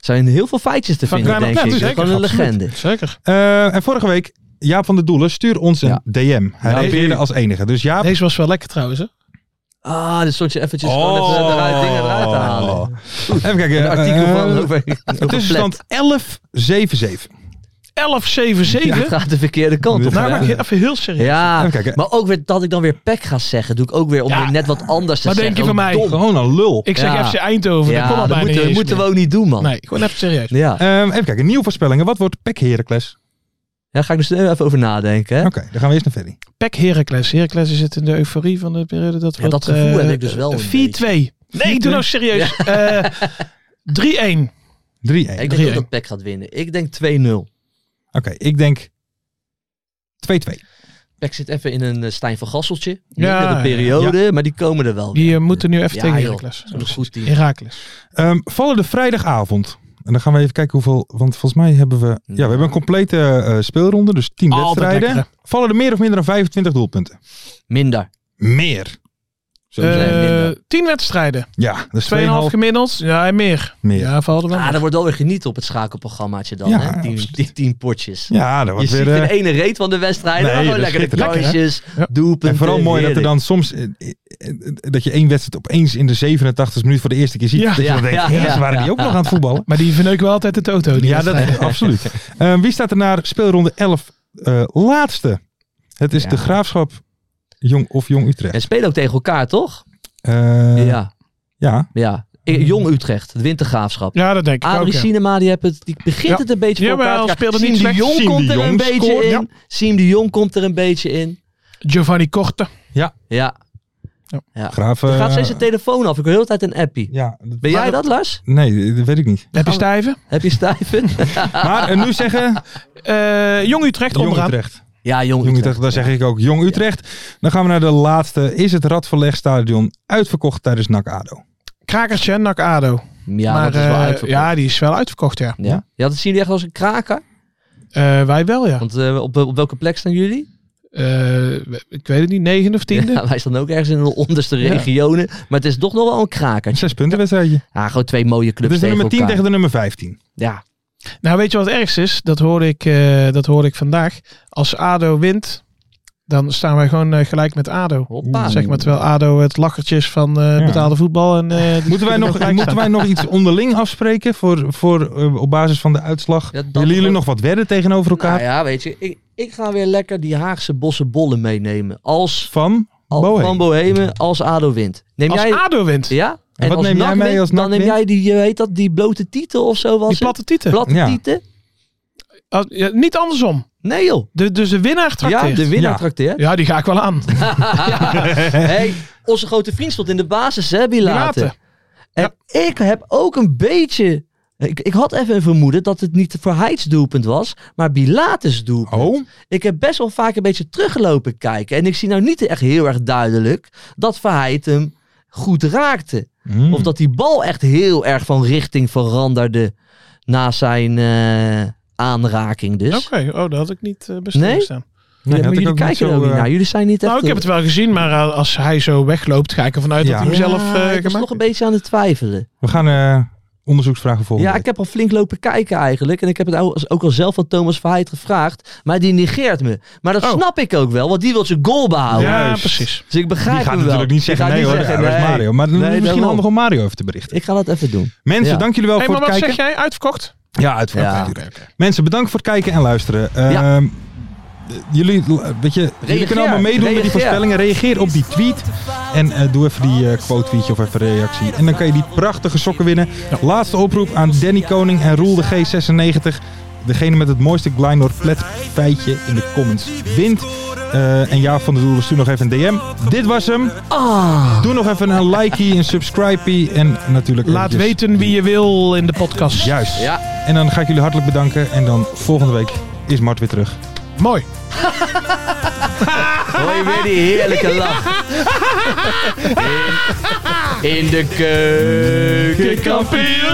Speaker 5: Er zijn heel veel feitjes te
Speaker 6: Van
Speaker 5: vinden,
Speaker 6: Kleine
Speaker 5: denk ik.
Speaker 6: Plaat,
Speaker 5: Dat is
Speaker 6: zeker,
Speaker 5: gewoon een
Speaker 6: absoluut.
Speaker 5: legende.
Speaker 6: Zeker.
Speaker 4: Eh, en vorige week, Jaap van der Doelen, stuur ons een
Speaker 5: Ja.
Speaker 4: DM. Hij
Speaker 6: Ja,
Speaker 4: reageerde
Speaker 6: deze-
Speaker 4: als enige. Dus Jaap...
Speaker 6: Deze was wel lekker trouwens. Hè?
Speaker 5: Ah, dit soort je eventjes gewoon even
Speaker 4: Oh.
Speaker 5: eruit, dingen eruit te halen.
Speaker 4: Even kijken.
Speaker 5: Een artikel
Speaker 4: eh,
Speaker 5: van over,
Speaker 4: de
Speaker 5: over
Speaker 4: tussenstand 11-7-7.
Speaker 6: 11-7-7.
Speaker 5: Ja, het gaat de verkeerde kant op.
Speaker 6: nou, maar
Speaker 5: hè?
Speaker 6: ik- even heel serieus.
Speaker 5: Ja,
Speaker 4: Even kijken.
Speaker 5: maar ook weer dat ik dan weer pek ga zeggen, doe ik ook weer om
Speaker 6: Ja.
Speaker 5: weer net wat anders te
Speaker 6: Wat
Speaker 5: zeggen.
Speaker 6: denk je van
Speaker 5: Ook
Speaker 6: mij?
Speaker 5: dom.
Speaker 4: Gewoon een lul.
Speaker 6: Ik zeg
Speaker 5: Ja.
Speaker 6: FC Eindhoven.
Speaker 5: Ja,
Speaker 6: dat kon al
Speaker 5: dat
Speaker 6: bijna
Speaker 5: moeten, we-
Speaker 6: niet eens
Speaker 5: moeten we
Speaker 6: meer.
Speaker 5: ook niet doen, man.
Speaker 6: Nee, gewoon even serieus.
Speaker 5: Ja.
Speaker 4: Eh, even kijken, nieuwe voorspellingen. Wat wordt Pek Heracles?
Speaker 5: Daar ga ik dus even over nadenken. Hè?
Speaker 4: Oké, dan gaan we eerst naar Ferry.
Speaker 6: Pek Heracles. Heracles is het in de euforie van de periode. Dat,
Speaker 5: Ja,
Speaker 6: wordt,
Speaker 5: dat gevoel
Speaker 6: eh,
Speaker 5: heb ik dus wel een
Speaker 6: 4-2. Nee, ik doe nou serieus. Eh 3-1.
Speaker 4: 3-1.
Speaker 5: Ik denk
Speaker 6: Drie,
Speaker 5: ook
Speaker 6: hè?
Speaker 5: dat Peck gaat winnen. Ik denk 2-0.
Speaker 4: Oké, ik denk 2-2.
Speaker 5: Peck zit even in een eh, Stijn van Gasseltje.
Speaker 6: Ja,
Speaker 5: Mindere
Speaker 6: ja,
Speaker 5: periode, maar die komen er wel weer.
Speaker 6: Die eh, moeten nu even
Speaker 5: Ja,
Speaker 6: tegen
Speaker 5: joh.
Speaker 6: Heracles. Dus
Speaker 5: Dat is een goed team.
Speaker 6: Heracles.
Speaker 4: Ehm, vallen de vrijdagavond. En dan gaan we even kijken hoeveel. Want volgens mij hebben we. Ja, we hebben een complete eh, speelronde. Dus 10
Speaker 6: Altijd
Speaker 4: wedstrijden.
Speaker 6: lekker,
Speaker 4: Vallen er meer of minder dan 25 doelpunten?
Speaker 5: Minder.
Speaker 4: Meer. Zo
Speaker 6: Eh,
Speaker 5: zijn minder.
Speaker 6: tien wedstrijden. 2,5
Speaker 4: ja, dat is 2,5
Speaker 6: gemiddeld. Ja, en meer.
Speaker 4: meer. Ja,
Speaker 6: Ja, vallen we wel.
Speaker 5: Ah, daar wordt wel weer genieten op het schakelprogrammaatje dan.
Speaker 4: Ja,
Speaker 5: hè? Die,
Speaker 4: absoluut.
Speaker 5: die tien potjes.
Speaker 4: dat
Speaker 5: Je
Speaker 4: wordt
Speaker 5: ziet
Speaker 4: weer.
Speaker 5: de
Speaker 4: eh,
Speaker 5: ene reet van de wedstrijd.
Speaker 4: Nee,
Speaker 5: maar gewoon
Speaker 4: dat is
Speaker 5: lekker de
Speaker 4: schitterend.
Speaker 5: kansjes,
Speaker 6: Ja.
Speaker 5: doelpunten.
Speaker 4: en vooral mooi dat er
Speaker 5: heerlijk.
Speaker 4: dan soms. eh, eh, eh, dat je één wedstrijd opeens in de 87 minuut voor de eerste keer ziet.
Speaker 6: Ja.
Speaker 4: dat je dan
Speaker 5: Ja,
Speaker 4: denkt,
Speaker 5: ja,
Speaker 4: ja,
Speaker 5: ja,
Speaker 4: ze waren die
Speaker 5: ja.
Speaker 4: ook nog aan het voetballen.
Speaker 6: Maar die verneuken wel altijd de toto. Die
Speaker 4: Ja, dat,
Speaker 6: wedstrijden.
Speaker 4: absoluut. Ehm, wie staat er naar speelronde 11 eh, laatste? Het is
Speaker 5: Ja.
Speaker 4: de Graafschap Jong of Jong Utrecht.
Speaker 5: En spelen ook tegen elkaar, toch?
Speaker 4: Eh,
Speaker 5: ja,
Speaker 4: ja.
Speaker 5: ja. I- Jong Utrecht, het wint de graafschap.
Speaker 6: Ja, dat denk ik
Speaker 5: Adrie
Speaker 6: ook. ja.
Speaker 5: Cinema, Ah, die, hebt het, die begint
Speaker 6: Ja.
Speaker 5: het een beetje voor
Speaker 6: Jawel,
Speaker 5: elkaar te krijgen.
Speaker 6: speelde niet
Speaker 5: Siem de
Speaker 6: slecht.
Speaker 5: Jong
Speaker 4: Siem de
Speaker 5: komt er een
Speaker 4: Jong
Speaker 5: beetje
Speaker 4: scoort,
Speaker 5: in. Siem de Jong komt er een beetje in.
Speaker 6: Giovanni Korte.
Speaker 5: Ja.
Speaker 6: Ja.
Speaker 4: Graaf.
Speaker 5: Er
Speaker 4: eh,
Speaker 5: gaat steeds de telefoon af. Ik hoor de hele tijd een appie.
Speaker 4: Ja,
Speaker 5: Ben jij
Speaker 4: maar-
Speaker 5: dat, Lars?
Speaker 4: Nee, dat weet ik niet.
Speaker 6: Heb je
Speaker 5: Oh.
Speaker 6: stijven?
Speaker 5: Heb je stijven?
Speaker 4: Maar eh, nu zeggen
Speaker 6: Eh, Jong Utrecht
Speaker 4: Jong
Speaker 6: onderaan.
Speaker 4: Utrecht.
Speaker 5: ja, Jong
Speaker 4: Jong
Speaker 5: Utrecht.
Speaker 4: Utrecht, daar zeg ik ook Jong Utrecht. Dan gaan we naar de laatste. Is het Radverlegstadion uitverkocht tijdens NAC ADO?
Speaker 6: Krakertje en NAC ADO.
Speaker 5: Ja,
Speaker 6: maar,
Speaker 5: dat is wel
Speaker 6: eh,
Speaker 5: uitverkocht. Ja.
Speaker 6: ja, die is wel uitverkocht, ja.
Speaker 5: Ja, dat zien jullie echt als een kraker.
Speaker 6: Eh, wij wel, ja.
Speaker 5: Want eh, op, op welke plek staan jullie?
Speaker 6: Eh, ik weet het niet, negende of tiende?
Speaker 5: Ja, wij staan ook ergens in de onderste
Speaker 6: Ja.
Speaker 5: regionen. Maar het is toch nog wel een
Speaker 4: Een
Speaker 5: kraker.
Speaker 4: zes punten wedstrijdje.
Speaker 5: Ja, gewoon twee mooie
Speaker 4: Het
Speaker 5: clubs
Speaker 4: is de
Speaker 5: tegen
Speaker 4: nummer
Speaker 5: elkaar.
Speaker 4: 10 tegen de nummer 15.
Speaker 5: Ja,
Speaker 6: Nou, weet je wat het ergste is? Dat hoorde ik, eh, dat hoorde ik vandaag. Als ADO wint, dan staan wij gewoon eh, gelijk met ADO.
Speaker 5: hoppa.
Speaker 6: Zeg maar, terwijl ADO het lakkertje is van eh,
Speaker 4: Ja.
Speaker 6: betaalde voetbal. En, eh, die
Speaker 4: Moeten wij,
Speaker 6: kunnen
Speaker 4: nog,
Speaker 6: gelijk
Speaker 4: moeten
Speaker 6: staan.
Speaker 4: wij nog iets onderling afspreken voor, voor, eh, op basis van de uitslag?
Speaker 5: Ja, dat-
Speaker 4: Willen jullie nog wat wedden tegenover elkaar?
Speaker 5: Nou ja, weet je. Ik, ik ga weer lekker die Haagse bossen bollen meenemen. Als
Speaker 4: Van
Speaker 5: al,
Speaker 4: Bohe.
Speaker 5: van Bohemen, als ADO wint. Neem
Speaker 6: Als
Speaker 5: jij...
Speaker 6: ADO wint?
Speaker 5: Ja?
Speaker 4: En wat neem jij
Speaker 5: NAC
Speaker 4: mee
Speaker 5: wint,
Speaker 4: als
Speaker 5: Dan
Speaker 4: NAC
Speaker 5: neem
Speaker 4: wint?
Speaker 5: jij die, eh, heet dat, die blote titel of zo was
Speaker 6: Die
Speaker 5: het?
Speaker 6: platte tieten.
Speaker 5: Platte
Speaker 4: Ja.
Speaker 5: tieten?
Speaker 6: Als- ja, niet andersom.
Speaker 5: Nee joh.
Speaker 6: De, dus de winnaar trakteert.
Speaker 5: Ja, de winnaar
Speaker 4: Ja.
Speaker 5: trakteert.
Speaker 6: Ja, die ga ik wel aan.
Speaker 5: Hey, onze grote vriend stond in de basis, hè, Bilate.
Speaker 6: Bilate.
Speaker 5: En ik heb ook een beetje... Ik, ik had even een vermoeden dat het niet voor Heids doelpunt was, maar Bilates doelpunt.
Speaker 4: Oh,
Speaker 5: Ik heb best wel vaak een beetje teruggelopen kijken. En ik zie nou niet echt heel erg duidelijk dat Verheid hem goed raakte.
Speaker 4: Mm.
Speaker 6: Hmm.
Speaker 5: Of dat die bal echt heel erg van richting veranderde na zijn eh, aanraking dus.
Speaker 6: Oké, oh, dat had ik niet eh besteld
Speaker 5: Nee?
Speaker 6: staan.
Speaker 5: Ja,
Speaker 4: Nee,
Speaker 5: maar
Speaker 4: had ik
Speaker 5: jullie
Speaker 4: ook niet
Speaker 5: kijken er
Speaker 4: zo,
Speaker 5: ook niet
Speaker 4: eh,
Speaker 5: naar. Jullie zijn niet echt...
Speaker 6: Nou, ik heb het wel gezien, maar eh, als hij zo wegloopt, ga ik ervan uit
Speaker 4: Ja.
Speaker 6: dat hij hem zelf
Speaker 5: Ja,
Speaker 6: eh,
Speaker 5: ik was
Speaker 6: gemaakt
Speaker 5: toch een beetje aan het twijfelen.
Speaker 4: we gaan eh, onderzoeksvragen volgen.
Speaker 5: Ja, ik heb al flink lopen kijken eigenlijk. En ik heb het ou- ook al zelf van Thomas Verheid gevraagd. Maar die negeert me. Maar dat
Speaker 6: Oh.
Speaker 5: snap ik ook wel, want die wil zijn goal
Speaker 6: heeft.
Speaker 5: behouden.
Speaker 6: Ja,
Speaker 4: Juist.
Speaker 6: precies.
Speaker 5: Dus ik begrijp
Speaker 4: Die gaat
Speaker 5: hem wel.
Speaker 4: natuurlijk niet
Speaker 5: Die
Speaker 4: zeggen
Speaker 5: gaat
Speaker 4: nee hoor,
Speaker 5: zeggen,
Speaker 4: dat is
Speaker 5: nee.
Speaker 4: Mario. Maar
Speaker 5: Nee,
Speaker 4: misschien
Speaker 5: daarom.
Speaker 4: handig om Mario even te berichten.
Speaker 5: Ik ga dat even doen.
Speaker 4: Mensen,
Speaker 5: Ja.
Speaker 4: dankjewel
Speaker 6: Hey,
Speaker 4: voor
Speaker 6: maar
Speaker 4: het
Speaker 6: wat
Speaker 4: kijken.
Speaker 6: zeg jij? Uitverkocht?
Speaker 4: Ja, uit
Speaker 5: Ja.
Speaker 4: ja. Mensen, bedankt voor het kijken en luisteren.
Speaker 5: Ja.
Speaker 4: Ehm, Jullie, weet je, jullie kunnen allemaal meedoen met die
Speaker 5: reageer.
Speaker 4: voorspellingen. Reageer op die tweet. En eh, doe even die eh, quote tweetje of even reactie. En dan kan je die prachtige sokken winnen. Laatste oproep aan Danny Koning en Roel de G96. Degene met het mooiste Glynor flat feitje in de comments wint. Eh, en ja, van de doelen stuur nog even een DM. Dit was hem.
Speaker 5: Ah.
Speaker 4: Doe nog even een likey, een subscribey en natuurlijk...
Speaker 6: Laat
Speaker 5: dus-
Speaker 4: eventjes-
Speaker 6: weten wie je wil in de podcast.
Speaker 4: Juist.
Speaker 5: Ja.
Speaker 4: En dan ga ik jullie hartelijk bedanken. En dan volgende week is Mart weer terug.
Speaker 6: Mooi.
Speaker 5: Hoi, weer die heerlijke lach. In de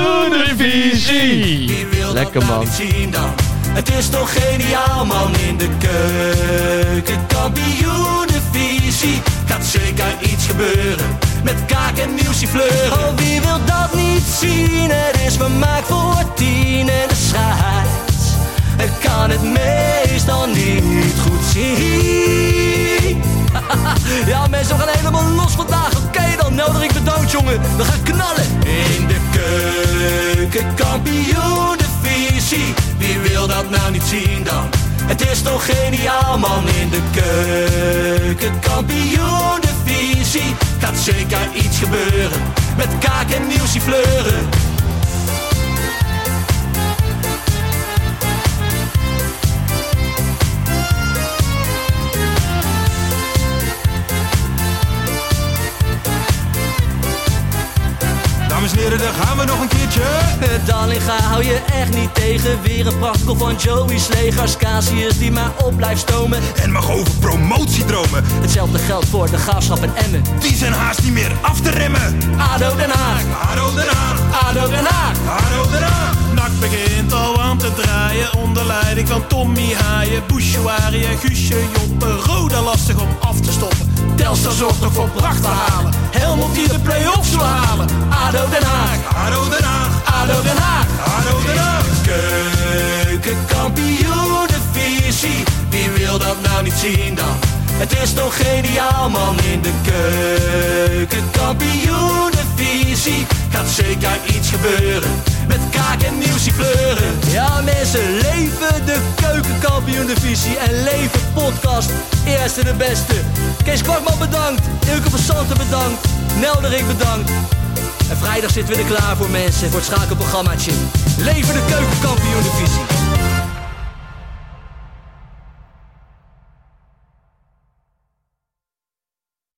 Speaker 6: Keukenkampioenenvisie.
Speaker 2: Wie wil
Speaker 5: Lekker,
Speaker 2: dat nou
Speaker 5: man.
Speaker 2: niet zien dan? Het is toch geniaal man in de keukenkampioenenvisie. Gaat zeker iets gebeuren met kaak en nieuwsie fleuren. Oh, wie wil dat niet zien? Het is vermaakt voor tien en de scheids. Ik kan het meestal niet goed zien. Ja, mensen, we gaan helemaal los vandaag. Oké, dan nodig ik bedankt, jongen. We gaan knallen. In de keuken, kampioen, de visie. Wie wil dat nou niet zien dan? Het is toch geniaal, man. In de keuken, kampioen, de visie. Gaat zeker iets gebeuren. Met kaak en nieuwsie fleuren.
Speaker 3: Dames en heren, daar gaan we nog een keertje.
Speaker 2: Dallinga hou je echt niet tegen. Weer een prachtkel van Joey's legers. Casius die maar op blijft stomen.
Speaker 3: En mag over promotiedromen.
Speaker 2: Hetzelfde geldt voor de graafschap en Emmen.
Speaker 3: Die zijn haast niet meer af te remmen.
Speaker 2: ADO Den Haag,
Speaker 3: Haro Den Haag,
Speaker 2: ADO Den Haag.
Speaker 3: Haro Den Haag.
Speaker 2: Nak begint al aan te draaien onder leiding van Tommy Haaien, Bouchouari en Guusje Joppen. Roda lastig om af te stoppen. Telstar zorgt nog voor pracht te halen. Helmond die de play-offs wil halen. ADO Den Haag,
Speaker 3: Haro Den Haag,
Speaker 2: ADO Den Haag.
Speaker 3: Haro Den Haag.
Speaker 2: Keukenkampioenenvisie, wie wil dat nou niet zien dan? Het is toch geniaal man in de keukenkampioenenvisie. Gaat zeker iets gebeuren, met kaak en nieuwsie kleuren. Ja mensen, leven de keukenkampioenenvisie en leven podcast. Eerste de beste. Kees Kortman bedankt, Ilke van Santen bedankt, Nelderik bedankt. En vrijdag zitten we er klaar voor mensen, voor het schakelprogrammaatje. Leven de keukenkampioen divisie.